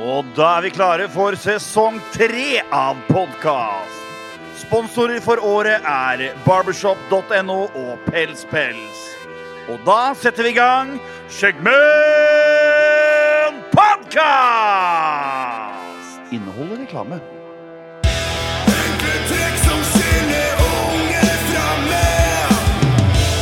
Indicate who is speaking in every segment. Speaker 1: Og da er vi klare for sesong tre av podkast. Sponsorer for året er barbershop.no og Pelspels. Og da setter vi i gang Skjeggmenn podkast! Inneholder reklame.
Speaker 2: Trekk som skiller unge fra meg.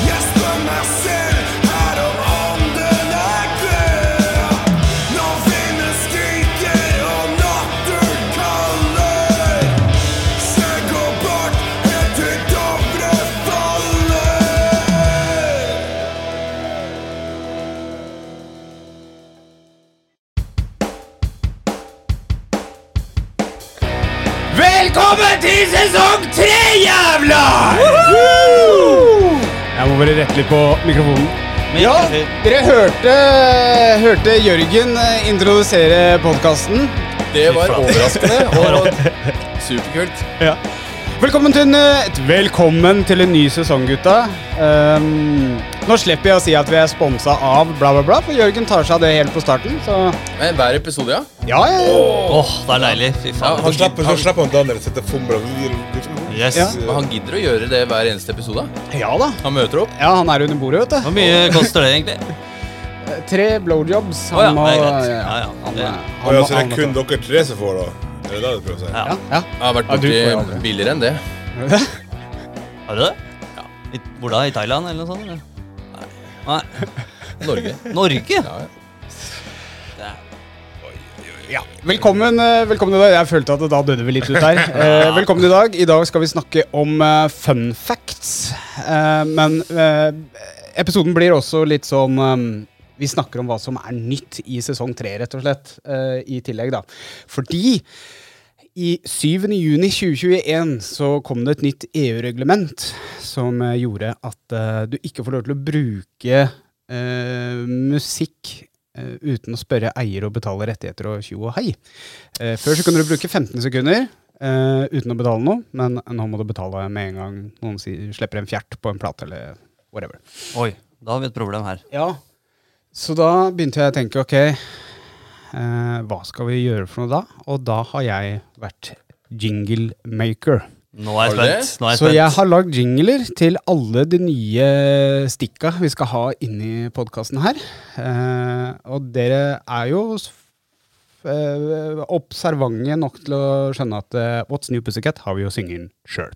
Speaker 2: Jeg spør meg selv her om ånden er død. Nå vinden skriker og natten kaller. Skjegg og bart helt til Dovre faller.
Speaker 3: Velkommen til sesong tre, jævla!
Speaker 4: Jeg må bare rette litt på mikrofonen.
Speaker 3: Ja,
Speaker 4: Dere hørte, hørte Jørgen eh, introdusere podkasten.
Speaker 5: Det var overraskende og superkult.
Speaker 4: Velkommen, til en, eh, velkommen til en ny sesong, gutta. Ehm, nå slipper jeg å si at vi er sponsa av bla, bla, bla, for Jørgen tar seg av det helt på starten. Så
Speaker 5: Men hver episode, ja.
Speaker 4: ja, ja, ja.
Speaker 6: Åh, det er deilig. Fy faen.
Speaker 7: Han slipper,
Speaker 5: han-
Speaker 7: han slipper han Daniel å sitte og liksom, fomle.
Speaker 6: Yes.
Speaker 4: Ja.
Speaker 5: Men han gidder å gjøre det hver eneste episode.
Speaker 4: ja da.
Speaker 5: Han møter opp.
Speaker 4: Ja, han er under bordet, vet du.
Speaker 6: Hvor mye koster det egentlig?
Speaker 4: Tre blowjobs.
Speaker 6: Å ja, det er greit.
Speaker 4: ja,
Speaker 6: Ja, ja,
Speaker 4: Han,
Speaker 6: det-
Speaker 4: er-
Speaker 7: Oi,
Speaker 4: han,
Speaker 7: altså, det
Speaker 4: han-
Speaker 7: er kun dere tre som får, da? Er det det du prøver å si?
Speaker 6: Ja.
Speaker 4: ja, ja.
Speaker 5: Jeg har vært
Speaker 4: Ja, du får
Speaker 5: borti
Speaker 4: aldri.
Speaker 5: billigere enn det.
Speaker 6: Har du det? I, hvor da? I Thailand eller noe sånt? Eller? Nei.
Speaker 5: Norge.
Speaker 6: Norge?
Speaker 5: Ja, ja.
Speaker 4: Velkommen, eh, velkommen i dag. Jeg følte at da døde vi litt ut der. Eh, velkommen i dag. I dag skal vi snakke om eh, fun facts. Eh, men eh, episoden blir også litt sånn eh, Vi snakker om hva som er nytt i sesong tre, rett og slett. eh, I tillegg, da. Fordi i 7. juni 2021 så kom det et nytt EU-reglement som eh, gjorde at eh, du ikke får lov til å bruke eh, musikk eh, uten å spørre eier og betale rettigheter og tjo og hei. Eh, før så kunne du bruke 15 sekunder eh, uten å betale noe, men nå må du betale med en gang noen sier, slipper en fjert på en plate eller whatever.
Speaker 6: Oi, da har vi et problem her.
Speaker 4: Ja. Så da begynte jeg å tenke, ok, eh, hva skal vi gjøre for noe da? Og da har jeg vært jingle maker.
Speaker 6: Nå er jeg
Speaker 5: Har du det?
Speaker 6: spent. Nå er jeg
Speaker 4: Så jeg
Speaker 6: spent.
Speaker 4: har lagd jingler til alle de nye stikka vi skal ha inni podkasten her. Eh, og dere er jo s- f- eh, observante nok til å skjønne at eh, What's New Pussycat har vi jo syngeren sjøl.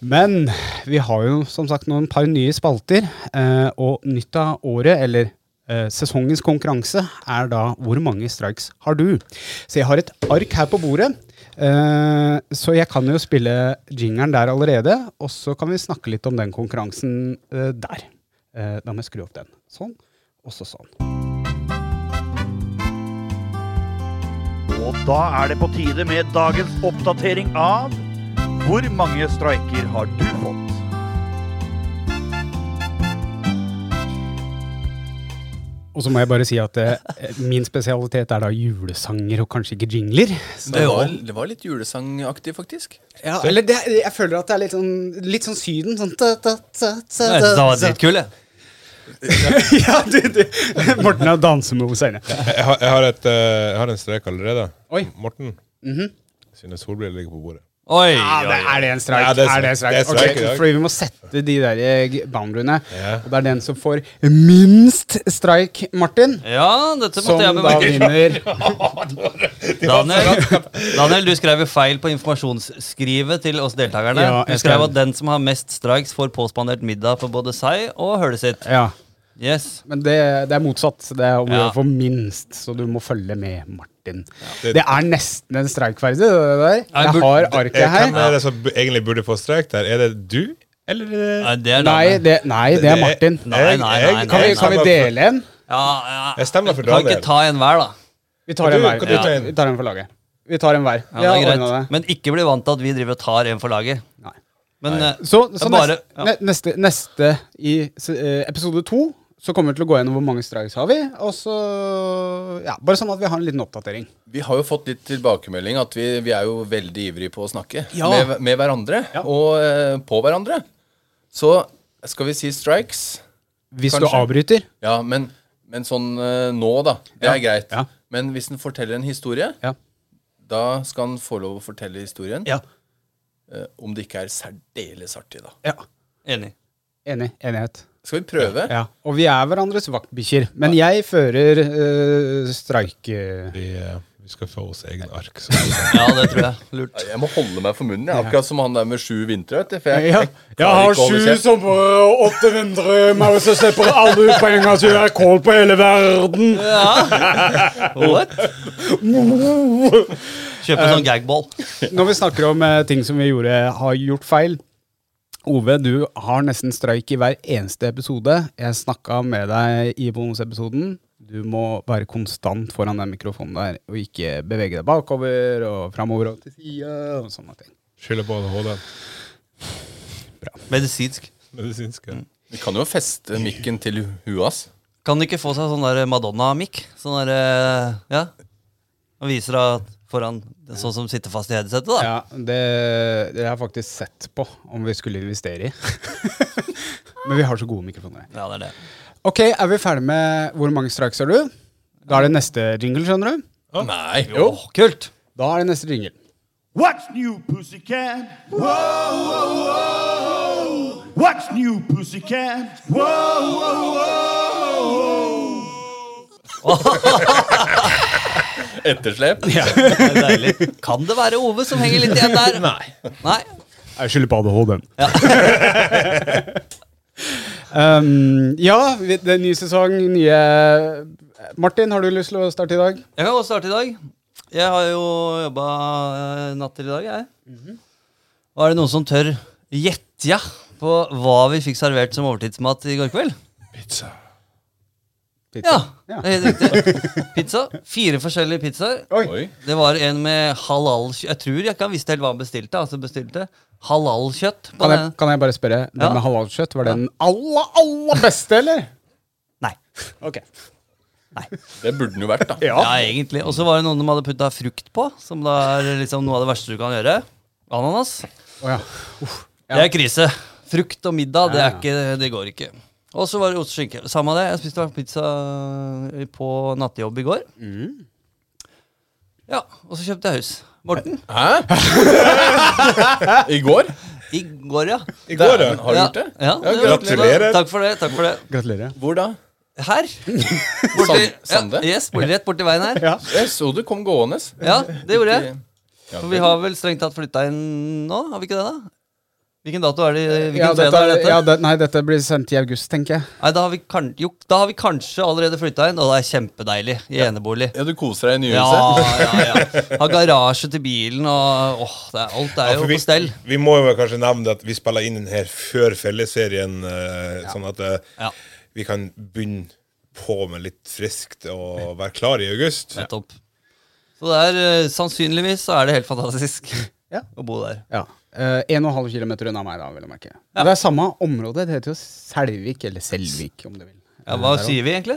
Speaker 4: Men vi har jo som sagt noen par nye spalter, eh, og nytt av året, eller eh, sesongens konkurranse, er da hvor mange strikes har du? Så jeg har et ark her på bordet, eh, så jeg kan jo spille jingeren der allerede, og så kan vi snakke litt om den konkurransen eh, der. Eh, da må jeg skru opp den. Sånn, og så sånn.
Speaker 1: Og da er det på tide med dagens oppdatering av Hvor mange streiker har du fått?
Speaker 4: Og så må jeg bare si at eh, min spesialitet er da julesanger og kanskje ikke jingler. Så
Speaker 5: Det var, det var litt julesangaktig, faktisk.
Speaker 4: Ja, eller det, jeg føler at det er litt sånn, litt sånn Syden. Sånn ta, ta, ta, ta,
Speaker 6: Jeg synes den var
Speaker 4: ta.
Speaker 6: dritkul, jeg.
Speaker 4: Ja, du, du. Morten har dansemove seinere.
Speaker 7: Jeg har, jeg, har et, eh, jeg har en strek allerede.
Speaker 4: Oi. Mhm.
Speaker 7: Morten. Sine solbriller ligger på bordet.
Speaker 6: Oi,
Speaker 4: Ja, det,
Speaker 6: oi, oi.
Speaker 4: er det en streik?
Speaker 7: Ja, det er
Speaker 4: er det en streik?
Speaker 7: streik. Det er
Speaker 4: Ok,
Speaker 7: streik i dag.
Speaker 4: fordi vi må sette de der eh, g- boundaryene.
Speaker 7: Ja.
Speaker 4: Og det er den som får minst streik, Martin,
Speaker 6: Ja, dette
Speaker 4: som
Speaker 6: måtte jeg
Speaker 4: da
Speaker 6: bemerke.
Speaker 4: vinner.
Speaker 6: Daniel, Daniel, du skrev jo feil på informasjonsskrivet til oss deltakerne.
Speaker 4: Ja,
Speaker 6: Du
Speaker 4: jeg
Speaker 6: skrev
Speaker 4: skrev-
Speaker 6: at den som har mest strikes, får påspandert middag for både seg og hølet sitt.
Speaker 4: Ja,
Speaker 6: Yes.
Speaker 4: Men det, det er motsatt. Det er om å
Speaker 6: Ja.
Speaker 4: gjøre for minst, så du må følge med, Martin.
Speaker 7: Det-
Speaker 4: Det er nesten en streikverdig, det der.
Speaker 6: Ja,
Speaker 4: Jeg
Speaker 6: burde-
Speaker 4: har
Speaker 7: Eh,
Speaker 4: arket her.
Speaker 7: Hvem er det som bu- egentlig burde få strek der? Er det du, eller
Speaker 6: Nei,
Speaker 7: er det-
Speaker 6: det er
Speaker 4: Nei,
Speaker 6: Eh, Daniel.
Speaker 4: det, nei, det er Martin.
Speaker 6: Nei, nei, nei,
Speaker 7: jeg-
Speaker 6: nei,
Speaker 4: Kan vi, kan vi dele en?
Speaker 6: Ja, ja.
Speaker 7: Jeg stemmer for
Speaker 6: Kan
Speaker 7: Daniel.
Speaker 6: ikke ta en hver, da.
Speaker 4: Vi tar
Speaker 7: Kan
Speaker 4: en
Speaker 7: du-
Speaker 4: hver.
Speaker 7: kan du ta
Speaker 4: Ja,
Speaker 7: en?
Speaker 4: Vi tar en for laget. Vi tar en hver.
Speaker 6: Ja,
Speaker 4: Jeg
Speaker 6: det er
Speaker 4: ordner
Speaker 6: greit.
Speaker 4: det.
Speaker 6: Men ikke bli vant til at vi driver og tar en for laget.
Speaker 4: Nei.
Speaker 6: Men eh,
Speaker 4: Så, så
Speaker 6: Bare-
Speaker 4: neste,
Speaker 6: ja.
Speaker 4: ne- neste, neste i se- eh, episode to så kommer vi til å gå gjennom hvor mange strikes har vi. Og så, ja, Bare sånn at vi har en liten oppdatering.
Speaker 5: Vi har jo fått litt tilbakemelding at vi, vi er jo veldig ivrige på å snakke
Speaker 4: Ja.
Speaker 5: med, med hverandre og eh, på hverandre. Så skal vi si strikes.
Speaker 4: Hvis du
Speaker 5: Kanskje.
Speaker 4: avbryter.
Speaker 5: Ja, men, men sånn eh, nå, da. Det er greit.
Speaker 4: ja.
Speaker 5: Men hvis den forteller en historie,
Speaker 4: Ja.
Speaker 5: da skal den få lov å fortelle historien.
Speaker 4: Ja.
Speaker 5: eh, Om det ikke er særdeles artig, da.
Speaker 4: ja.
Speaker 6: Enig.
Speaker 4: Enig. Enighet.
Speaker 5: Skal vi prøve?
Speaker 4: Ja. Og vi er hverandres vaktbikkjer. Men jeg fører uh, streike...
Speaker 7: Vi, eh, vi skal få oss egen ark. Så.
Speaker 6: Ja, det tror jeg. Lurt.
Speaker 5: Jeg må holde meg for munnen. Jeg. Akkurat som han der med sju vintre. vet du, For jeg,
Speaker 4: Ja.
Speaker 5: jeg, klarer ikke å holde kjeft.
Speaker 4: som eh, på 800 meg, så slipper alle ut på en gang, så jeg er kål på hele verden.
Speaker 6: What? Kjøpe
Speaker 4: Um,
Speaker 6: sånn gagball.
Speaker 4: Når vi snakker om eh, ting som vi gjorde, har gjort feil Ove, du har nesten streik i hver eneste episode. Jeg snakka med deg i bonusepisoden. Du må være konstant foran den mikrofonen der, og ikke bevege deg bakover og framover og til sida og sånne ting.
Speaker 7: Skylder på ADHD.
Speaker 6: Medisinsk.
Speaker 7: Medisinske.
Speaker 6: Mm.
Speaker 5: Vi kan jo feste mikken til huet hans.
Speaker 6: Kan ikke få seg sånn der Madonna-mikk? Sånn der, eh, ja. Og viser deg foran sånn som sitter fast i headsetet, da.
Speaker 4: Ja, det, det har jeg faktisk sett på om vi skulle investere i. Men vi har så gode mikrofoner.
Speaker 6: Ja, det er det.
Speaker 4: Ok, er vi ferdig med hvor mange strikes har du? Da er det neste jingle, skjønner du.
Speaker 5: Nei.
Speaker 6: Åh, kult!
Speaker 4: Da er det neste jingle.
Speaker 1: What's new, pussycat? Whoa, whoa, whoa. What's new, pussycat? Whoa, whoa, whoa.
Speaker 5: Etterslep.
Speaker 6: Det er deilig. Kan det være Ove som henger litt igjen der? Nei. Nei?
Speaker 4: Jeg skylder på ADHD. um, ja, vi- det er ny sesong, nye Martin, har du lyst til å starte i dag?
Speaker 6: Jeg kan godt starte i dag. Jeg har jo jobba eh, natt til i dag, jeg. Og er det noen som tør gjette ja, på hva vi fikk servert som overtidsmat i går kveld?
Speaker 4: Pizza.
Speaker 6: Ja, det er helt riktig. Pizza. Fire forskjellige pizzaer.
Speaker 5: Oi.
Speaker 6: Det var en med halal kjøtt. Jeg tror jeg ikke han visste helt hva han bestilte. Altså bestilte halalkjøtt. på
Speaker 4: Kan
Speaker 6: den.
Speaker 4: jeg, kan jeg bare spørre, den
Speaker 6: Ja.
Speaker 4: med halalkjøtt, var det den aller, aller beste, eller?
Speaker 6: Nei.
Speaker 4: Ok.
Speaker 5: Det burde den jo vært, da.
Speaker 6: Ja, egentlig. Og så var det noen som hadde putta frukt på, som da er liksom noe av det verste du kan gjøre. Ananas.
Speaker 4: Å ja.
Speaker 6: Det er krise. Frukt og middag, det, er ikke, det går ikke. Og så var det ost og skinke. Samme det. Jeg spiste pizza eh, på nattejobb i går. Mm. Ja, og så kjøpte jeg hus. Morten?
Speaker 5: Hæ? I går?
Speaker 6: I går, ja.
Speaker 7: I går, ja.
Speaker 5: Har du
Speaker 6: ja.
Speaker 5: gjort det?
Speaker 6: Ja, det var-
Speaker 7: gratulerer.
Speaker 6: Takk for det. takk for det.
Speaker 4: Gratulerer.
Speaker 5: Hvor da?
Speaker 6: Her.
Speaker 5: Sand-
Speaker 6: Ja,
Speaker 5: Sande?
Speaker 6: yes, borti rett borti veien her.
Speaker 5: Jeg så du kom gående.
Speaker 6: Ja, det gjorde jeg.
Speaker 5: Ja,
Speaker 6: For vi har vel strengt tatt flytta inn nå, har vi ikke det, da? Hvilken dato er det? Hvilken
Speaker 4: Ja, dette,
Speaker 6: fredag er dette?
Speaker 4: ja, det, nei, dette blir sendt i august, tenker jeg.
Speaker 6: Nei, da har, vi kan, jo, da har vi kanskje allerede flytta inn, og det er kjempedeilig i enebolig.
Speaker 5: ja, du koser deg i
Speaker 6: Ja,
Speaker 5: nyhuset?
Speaker 6: ja, ja. Har garasje til bilen og åh, det er, alt er
Speaker 7: Ja,
Speaker 6: jo
Speaker 7: for vi,
Speaker 6: på stell.
Speaker 7: vi må jo kanskje nevne at vi spiller inn den her før felleserien, eh, sånn at eh,
Speaker 6: Ja.
Speaker 7: vi kan begynne på med litt friskt og være klar i august.
Speaker 6: Nettopp. Så det er eh, sannsynligvis så er det helt fantastisk
Speaker 4: Ja.
Speaker 6: å bo der.
Speaker 4: Ja. Eh, en og en halv kilometer unna meg, da, vil jeg merke. Men Det er samme område. Det heter jo Selvik, eller Selvik, om du vil.
Speaker 6: Ja, hva sier vi egentlig?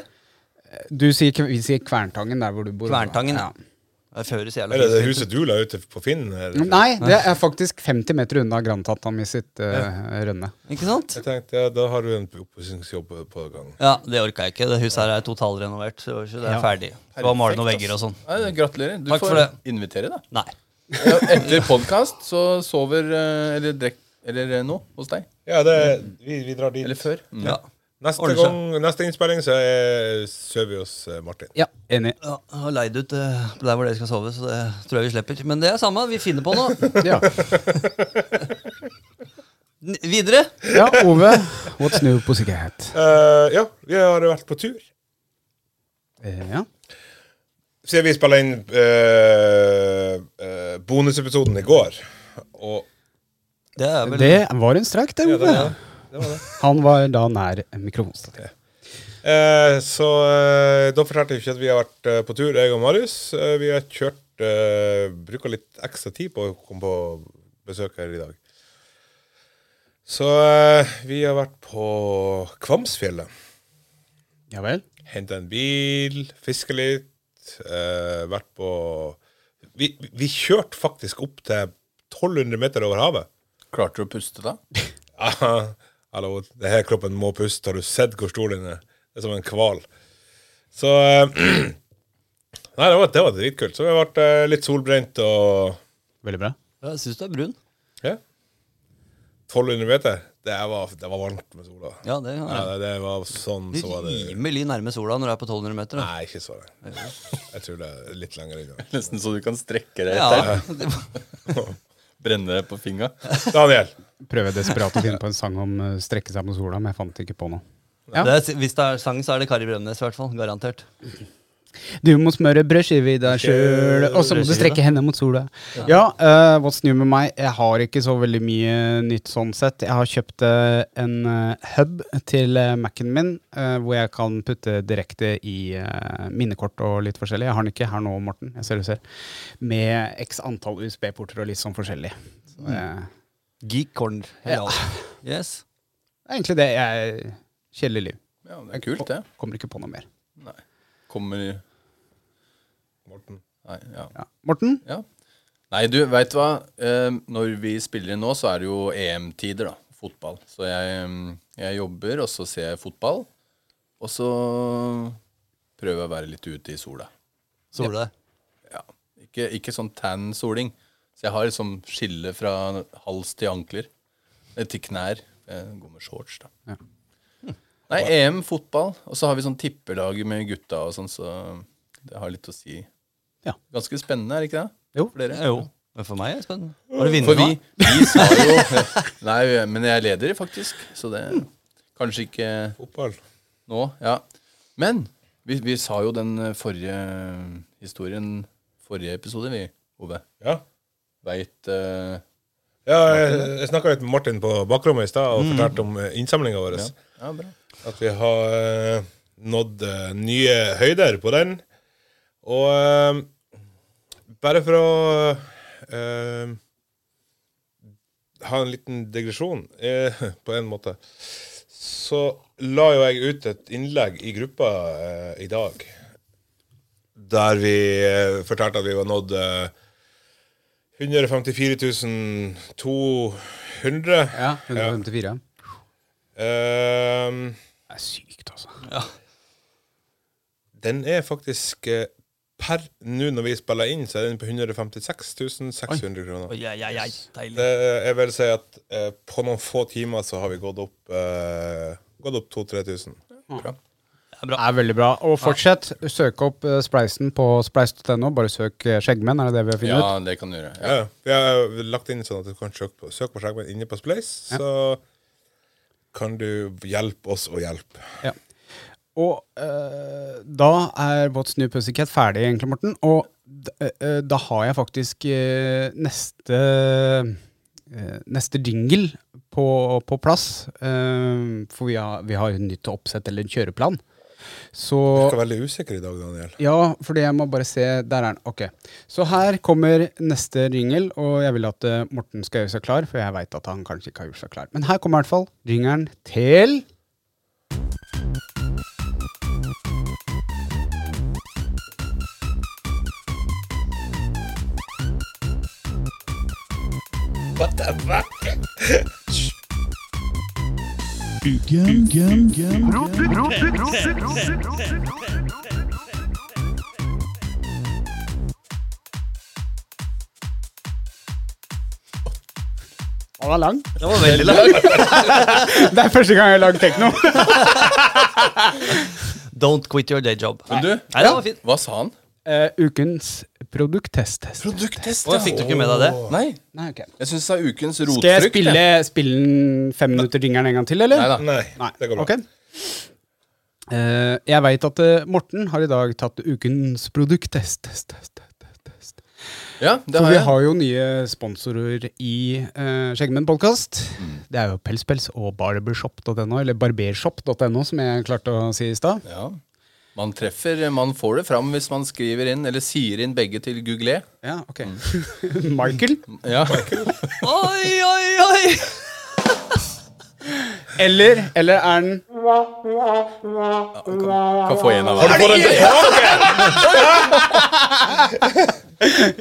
Speaker 4: Du sier, kv- vi sier Kverntangen, der hvor du bor.
Speaker 6: Kverntangen,
Speaker 4: ja.
Speaker 6: ja. Det føres jævla
Speaker 7: Eller det
Speaker 6: fint.
Speaker 7: huset du la ute på Finn? Her.
Speaker 4: Nei, det er faktisk 50 meter unna Grandtata mi sitt eh, rønne.
Speaker 6: Ikke sant?
Speaker 7: Jeg tenkte, ja, Da har du en oppussingsjobb på gang.
Speaker 6: Ja, det orka jeg ikke. Det huset her er totalrenovert. Så det er ferdig. Skal bare male noen
Speaker 5: Perfekt,
Speaker 6: vegger og sånn.
Speaker 5: Nei, gratulerer. Du
Speaker 6: Takk
Speaker 5: får
Speaker 6: for det.
Speaker 5: invitere, da.
Speaker 6: Nei.
Speaker 5: Ja, etter podkast så sover eh, Eller drek, eller eh, nå hos deg.
Speaker 7: Ja, det, vi, vi drar dit.
Speaker 5: Eller før. Mm.
Speaker 6: Ja.
Speaker 7: Neste,
Speaker 6: Ordner seg.
Speaker 7: gang, neste innspilling så er- sover vi hos eh, Martin.
Speaker 4: Ja, enig.
Speaker 6: Ja, jeg har leid ut eh, der hvor dere skal sove, så det tror jeg vi slipper. Men det er samme, vi finner på noe.
Speaker 4: Ja.
Speaker 6: N videre.
Speaker 4: ja, Ove. What's new pussycat?
Speaker 7: Eh, ja, vi har vært på tur.
Speaker 4: Eh, ja.
Speaker 7: Siden vi spilla inn eh, eh, bonusepisoden i går, og
Speaker 6: Det er vel
Speaker 4: Det var en streik, det,
Speaker 7: Ja, det
Speaker 4: Ove.
Speaker 7: var det. det var det.
Speaker 4: Han var da nær mikrofonstativet.
Speaker 7: Eh, så eh, da fortalte jeg ikke at vi har vært eh, på tur, jeg og Marius. Eh, vi har kjørt eh, Bruka litt ekstra tid på å komme på besøk her i dag. Så eh, vi har vært på Kvamsfjellet.
Speaker 4: Ja vel?
Speaker 7: Henta en bil, fiska litt. Eh, vært på vi, vi kjørte faktisk opp til 1200 meter over havet.
Speaker 5: Klarte du å puste da?
Speaker 7: Ah, Hallo, det her kroppen må puste. Har du sett hvor stor den er? Det er som en hval. Så eh, Nei, det var, det var dritkult. Så vi ble eh, litt solbrent og
Speaker 4: Veldig bra.
Speaker 6: Jeg syns du er brun.
Speaker 7: ja. 1200 meter. Det var, det var varmt med sola.
Speaker 6: Ja, det kan
Speaker 7: Ja,
Speaker 6: jeg.
Speaker 7: det, det var sånn
Speaker 6: Du
Speaker 7: så var det
Speaker 6: rimelig nærme sola når du er på 1200 meter. Da.
Speaker 7: Nei, ikke så lenge. Jeg tror det er litt lenger unna.
Speaker 5: Nesten så du kan strekke deg etter.
Speaker 6: Ja, det var-
Speaker 5: Brenne deg på fingra.
Speaker 7: Daniel.
Speaker 4: Prøver desperat å finne på en sang om eh, strekke seg mot sola, men jeg fant ikke på noe. Ja.
Speaker 6: det er, hvis det er sang, så er det Kari Bremnes, i hvert fall. Garantert.
Speaker 4: Du må smøre brødskive i deg sjøl, og så må du strekke hendene mot sola. Ja, eh, what's new med meg? Jeg har ikke så veldig mye nytt sånn sett. Jeg har kjøpt eh, en eh, hub til eh, Mac-en min, eh, hvor jeg kan putte direkte i eh, minnekort og litt forskjellig. Jeg har den ikke her nå, Morten. Jeg ser du ser. Med x antall USB-porter og litt sånn forskjellig. Så, eh,
Speaker 6: Geek corner.
Speaker 4: Ja.
Speaker 6: Yes.
Speaker 4: det er egentlig det jeg Kjedelig liv.
Speaker 5: Ja, det er kult, det.
Speaker 4: Kommer ikke på noe mer.
Speaker 5: Kommer i
Speaker 7: Morten.
Speaker 5: Nei, ja.
Speaker 4: Ja. Morten?
Speaker 5: ja. Nei, du, veit du hva? Eh, Når vi spiller inn nå, så er det jo EM-tider, da. Fotball. Så jeg, mm, jeg jobber, og så ser jeg fotball. Og så prøver jeg å være litt ute i sola.
Speaker 6: Sola.
Speaker 5: Ja. Ikke, ikke sånn tan soling. Så jeg har liksom skille fra hals til ankler. eh, Til knær. Jeg går med shorts, da.
Speaker 4: Ja.
Speaker 5: Nei, EM fotball. Og så har vi sånn tippelag med gutta og sånn, så det har litt å si.
Speaker 4: Ja.
Speaker 5: Ganske spennende, er det ikke det?
Speaker 4: Jo.
Speaker 5: For dere?
Speaker 6: Ja, Jo. Men for meg er det spennende. Var det
Speaker 5: For
Speaker 6: vinner
Speaker 5: vi,
Speaker 6: nå?
Speaker 5: vi sa jo Nei, men jeg leder faktisk, så det Kanskje ikke
Speaker 7: Fotball.
Speaker 5: nå, ja. Men vi, vi sa jo den forrige historien, forrige episode, vi, Ove.
Speaker 7: Ja.
Speaker 5: Veit eh,
Speaker 7: Ja, jeg, jeg snakka litt med Martin på bakrommet i stad og fortalte om innsamlinga vår.
Speaker 5: Ja, bra.
Speaker 7: At vi har eh, nådd eh, nye høyder på den. Og eh, bare for å eh, ha en liten digresjon, eh, på en måte, så la jo jeg ut et innlegg i gruppa eh, i dag der vi eh, fortalte at vi var nådd eh, 154 200.
Speaker 4: Ja. 154.
Speaker 7: Ehm,
Speaker 4: Det er sykt, altså.
Speaker 7: den er faktisk eh, Per nå når vi spiller inn, så er den på 156 600 kroner.
Speaker 6: Oi, ja, ja, ja. Deilig.
Speaker 7: Det, jeg vil si at eh, på noen få timer så har vi gått opp eh, Gått opp 2000-3000.
Speaker 4: Det er veldig bra. Og fortsett. Søk opp eh, Spleisen på spleis.no. Bare søk eh, Skjeggmenn, er det det vi har funnet
Speaker 5: Ja,
Speaker 4: ut?
Speaker 5: det kan du gjøre. Ja.
Speaker 7: Ja, ja. Vi har lagt inn sånn at du kan søke på, søke på Skjeggmenn inne på Splace, så kan du hjelpe oss å hjelpe.
Speaker 4: Ja. Og eh, da er What's New Pussycat ferdig, egentlig, Morten. Og d- eh, eh, da har jeg faktisk eh, neste eh, Neste jingle på, på plass. eh, for vi har, vi har jo nytt oppsett eller en kjøreplan. Så
Speaker 7: Du er veldig usikker i dag, Daniel.
Speaker 4: Ja, fordi jeg må bare se Der er den. Ok. Så her kommer neste jingle, og jeg vil at eh, Morten skal gjøre seg klar, for jeg veit at han kanskje ikke har gjort seg klar. Men her kommer i hvert fall jingelen til Å, den er lang.
Speaker 6: Det var veldig langt.
Speaker 4: Det er første gang jeg har lagd tekno.
Speaker 6: Don't quit your day job.
Speaker 5: Men du,
Speaker 6: Nei, det var fint.
Speaker 5: hva sa han?
Speaker 4: Eh, ukens produkttest-test.
Speaker 5: Produkttest,
Speaker 6: Å, fikk du ikke med deg det?
Speaker 5: Nei.
Speaker 4: Nei, ok.
Speaker 5: Jeg syns det er ukens rotfrukt.
Speaker 4: Skal jeg
Speaker 5: jeg.
Speaker 4: spille, spille den fem minutter jingelen en gang til, eller?
Speaker 5: Neida.
Speaker 7: Nei,
Speaker 4: Nei,
Speaker 7: det går bra.
Speaker 4: ok. Eh, jeg veit at eh, Morten har i dag tatt ukens produkttest. Test, test, test, test.
Speaker 5: Ja, det
Speaker 4: For
Speaker 5: har
Speaker 4: vi
Speaker 5: jeg.
Speaker 4: har jo nye sponsorer i uh, Skjeggmenn podkast. Det er jo Pelspels og barbershop.no, eller barbershop.no, som jeg klarte å si i stad.
Speaker 5: Ja. Man treffer, man får det fram hvis man skriver inn, eller sier inn begge til Google. E.
Speaker 4: Ja, ok. Michael.
Speaker 5: Ja.
Speaker 6: Oi, oi, oi!
Speaker 4: Eller, eller er den
Speaker 5: Kan få en av hver.
Speaker 7: Får den tilbake!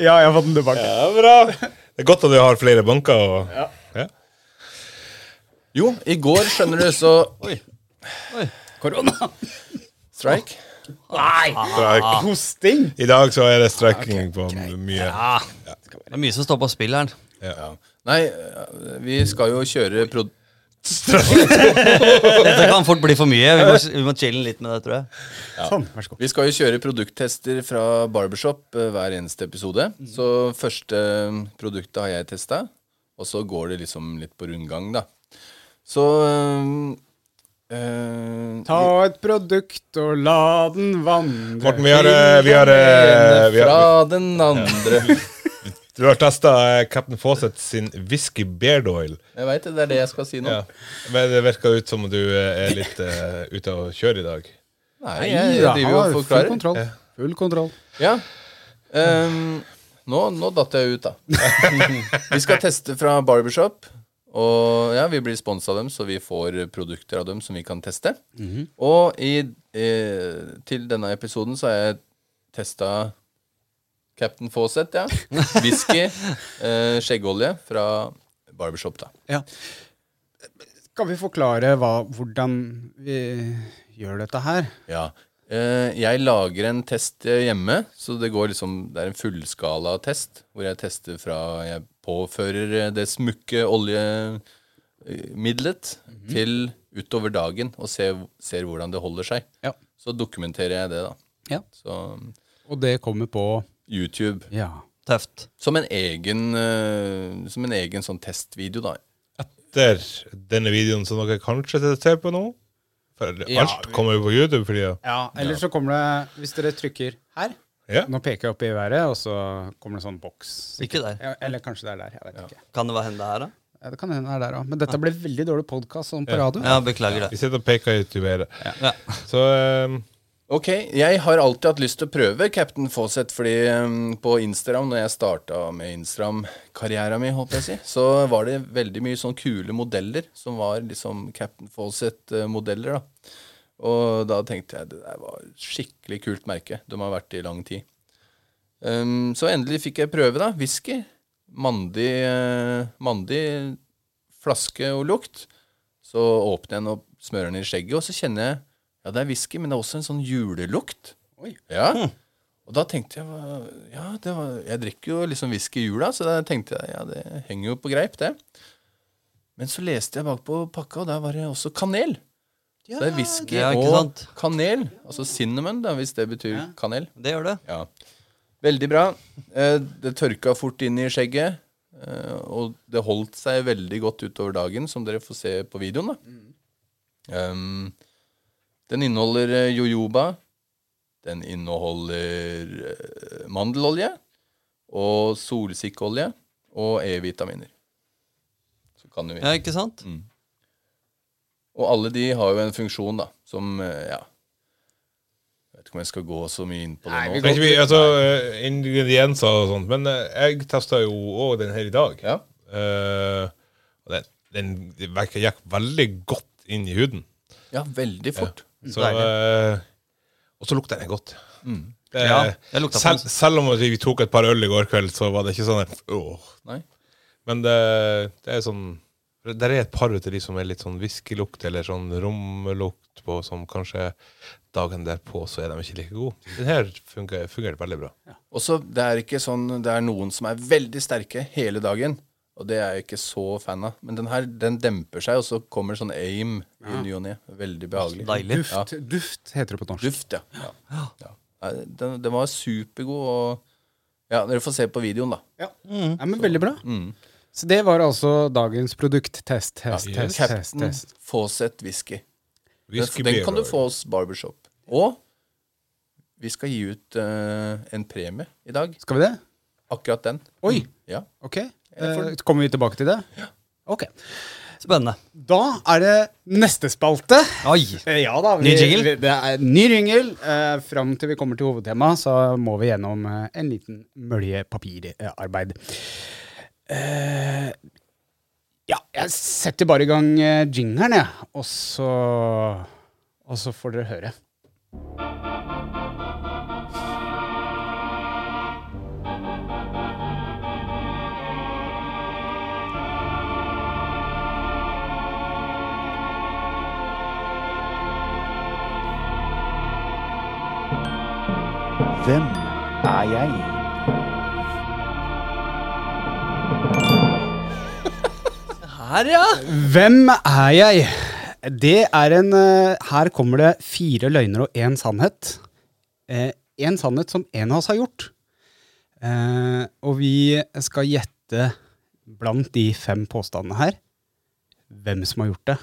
Speaker 4: Ja, jeg har fått den tilbake.
Speaker 7: Ja, bra. Det er godt at du har flere banker. Og, ja.
Speaker 5: Jo, i går, skjønner du, så
Speaker 6: Oi. Oi.
Speaker 5: Korona. Strike.
Speaker 7: Streik.
Speaker 4: Hosting?
Speaker 7: I dag så er det streiking på mye.
Speaker 6: Ah, det er mye som står på spill her.
Speaker 5: Nei, vi skal jo kjøre pro...
Speaker 6: Dette kan fort bli for mye. Vi må, vi må chille litt med det, tror jeg.
Speaker 4: Sånn, vær så god.
Speaker 5: Vi skal jo kjøre produkttester fra Barbershop eh, hver eneste episode.
Speaker 4: Mhm.
Speaker 5: Så første eh, produktet har jeg testa, og så går det liksom litt på rundgang, da. Så eh, eh,
Speaker 4: Ta et produkt og la den vandre.
Speaker 7: Morten, vi har, eh, vi har, eh, vi har,
Speaker 5: Fra den andre.
Speaker 7: du har testa Captain Fawcett sin whisky beard oil.
Speaker 5: Jeg veit det, det er det jeg skal si nå.
Speaker 7: Ja. Men det virker ut som om du eh, er litt eh, ute å kjøre i dag.
Speaker 5: Nei, jeg, jeg driver jo
Speaker 4: Ja,
Speaker 5: og
Speaker 4: Full
Speaker 5: forklarer.
Speaker 4: kontroll. Full kontroll.
Speaker 5: Ja. Ehm, nå, nå datt jeg ut, da. vi skal teste fra Barbershop. Og ja, vi blir sponsa av dem, så vi får produkter av dem som vi kan teste. Og i, eh, til denne episoden så har jeg testa Captain Fawcett, ja. Whisky, eh, skjeggolje fra Barbershop, da.
Speaker 4: Skal vi forklare hva, hvordan vi gjør dette her?
Speaker 5: Ja. Eh, jeg lager en test eh, hjemme, så det går liksom Det er en fullskala test hvor jeg tester fra jeg påfører eh, det smukke oljemiddelet
Speaker 4: Mhm.
Speaker 5: til utover dagen og ser, ser hvordan det holder seg.
Speaker 4: Ja.
Speaker 5: Så dokumenterer jeg det, da.
Speaker 4: Ja.
Speaker 5: Så um,
Speaker 4: Og det kommer på
Speaker 5: YouTube.
Speaker 4: Ja.
Speaker 6: Tøft.
Speaker 5: Som en egen eh, Som en egen sånn testvideo, da.
Speaker 7: etter denne videoen som dere kanskje ser på nå. For alt kommer jo på YouTube for tida.
Speaker 4: ja eller så kommer det Hvis dere trykker her
Speaker 7: Ja.
Speaker 4: Nå peker jeg opp i været, og så kommer det en sånn boks.
Speaker 6: Ikke der.
Speaker 4: Ja, eller kanskje det er der. Jeg vet ikke.
Speaker 6: Kan det være hende her, da?
Speaker 4: Ja, det kan hende det er der også. Men dette ble veldig dårlig podkast sånn på radio.
Speaker 6: Ja, beklager det.
Speaker 7: Vi sitter og peker ut i været.
Speaker 6: Ja.
Speaker 7: Så eh,
Speaker 5: Ok, jeg har alltid hatt lyst til å prøve Captain Fawcett, fordi um, på Instagram, når jeg starta med Instagram-karriera mi, håper jeg å si, så var det veldig mye sånn kule modeller som var liksom Captain Fawcett-modeller, da. Og da tenkte jeg det der var et skikkelig kult merke. De har vært det i lang tid. Um, så endelig fikk jeg prøve, da. Whisky. Mandig, eh, mandig flaske og lukt. Så åpner jeg den og smører den i skjegget, og så kjenner jeg ja, det er whisky, men det er også en sånn julelukt.
Speaker 4: Oi.
Speaker 5: Ja. Og da tenkte jeg hva- ja, det var, jeg drikker jo liksom whisky i jula, så da tenkte jeg ja, det henger jo på greip, det. Men så leste jeg bakpå pakka, og der var det også kanel. så det er whisky
Speaker 6: ja, ikke
Speaker 5: og
Speaker 6: sant?
Speaker 5: kanel. Altså cinnamon, da, hvis det betyr kanel.
Speaker 6: Det gjør det.
Speaker 5: Ja. Veldig bra. Eh, Det tørka fort inn i skjegget. eh, Og det holdt seg veldig godt utover dagen, som dere får se på videoen. da. Um, den inneholder eh, jojoba. Den inneholder eh, mandelolje og solsikkeolje og E-vitaminer. Så kan du
Speaker 6: Ja, ikke sant?
Speaker 5: og alle de har jo en funksjon, da, som eh, ja. Jeg vet ikke om jeg skal gå så mye inn på det nå.
Speaker 7: det er ikke vi, altså, eh, ingredienser og sånt. Men eh, jeg testa jo òg den her i dag.
Speaker 5: Ja.
Speaker 7: Eh, og den, den virker gikk veldig godt inn i huden.
Speaker 5: Ja, veldig fort.
Speaker 7: Så, eh, og så lukter den godt.
Speaker 5: Mm.
Speaker 7: Det,
Speaker 6: Ja, jeg lukta på
Speaker 7: selv,
Speaker 6: den.
Speaker 7: selv om vi tok et par øl i går kveld, så var det ikke sånn at, åh,
Speaker 5: Nei.
Speaker 7: Men det, det er sånn Der er et par ut av de som er litt sånn whiskylukt eller sånn romlukt på, som kanskje dagen derpå så er de ikke like gode. Den her funker, fungerer veldig bra.
Speaker 5: Og så det er ikke sånn Det er noen som er veldig sterke hele dagen, og det er jeg ikke så fan av. Men den her, den demper seg, og så kommer sånn aim i ny og ne. Veldig behagelig.
Speaker 6: Deilig.
Speaker 5: Ja.
Speaker 4: Duft, duft heter det på norsk.
Speaker 5: Duft, ja. ja. ja. Nei, Den, den var supergod, og Ja, dere får se på videoen, da.
Speaker 4: Ja. ja, men Veldig bra. Så det var altså dagens produkt. Test, test,
Speaker 7: Ja,
Speaker 4: test, test,
Speaker 5: Captain
Speaker 4: test.
Speaker 5: Fawcett Whisky. Den,
Speaker 7: Whisky
Speaker 5: den
Speaker 7: beer
Speaker 5: kan du
Speaker 7: oil.
Speaker 5: få hos Barbershop. Og vi skal gi ut eh, en premie i dag.
Speaker 4: Skal vi det?
Speaker 5: Akkurat den.
Speaker 4: Oi,
Speaker 5: Ja.
Speaker 4: ok. Eh, kommer vi tilbake til det? Ok.
Speaker 6: Spennende.
Speaker 4: Da er det neste spalte.
Speaker 6: Oi!
Speaker 4: Eh, Ja da.
Speaker 6: Ny jingle?
Speaker 4: Vi, det er ny jingle. Eh, fram til vi kommer til hovedtema, så må vi gjennom eh, en liten mølje papirarbeid. Eh, ja, jeg setter bare i gang eh, jingeren, jeg. Og så Og så får dere høre.
Speaker 1: Hvem er jeg?
Speaker 6: Her, ja!
Speaker 4: Hvem er jeg? Det er en eh, Her kommer det fire løgner og én sannhet. Eh, en sannhet som en av oss har gjort. Eh, og vi skal gjette blant de fem påstandene her hvem som har gjort det.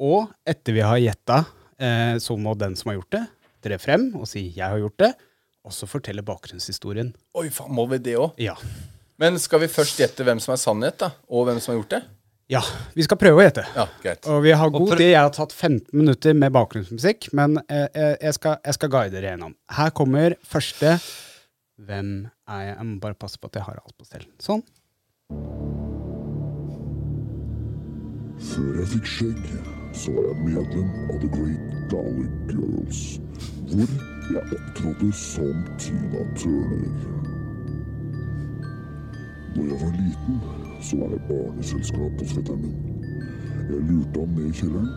Speaker 4: Og etter vi har gjetta, eh, så må den som har gjort det, tre frem og si 'jeg har gjort det', og så fortelle bakgrunnshistorien.
Speaker 5: Oi, faen, må vi det òg?
Speaker 4: Ja.
Speaker 5: Men skal vi først gjette hvem som er sannhet, da? Og hvem som har gjort det?
Speaker 4: ja. Vi skal prøve å gjette.
Speaker 5: Ja, greit.
Speaker 4: Og vi har god
Speaker 6: prøv-
Speaker 4: tid. Jeg har tatt 15 minutter med bakgrunnsmusikk, men eh, eh, jeg, skal, jeg skal guide dere gjennom. Her kommer første Hvem er jeg? Jeg må bare passe på at jeg har alt på stell. Sånn.
Speaker 8: Før jeg fikk skjegg, så var jeg medlem av The Great Dalek Girls, hvor jeg opptrådte som Tina Turner. Når jeg var liten, så var jeg barneselskap hos fetteren min. Jeg lurte ham ned i kjelleren,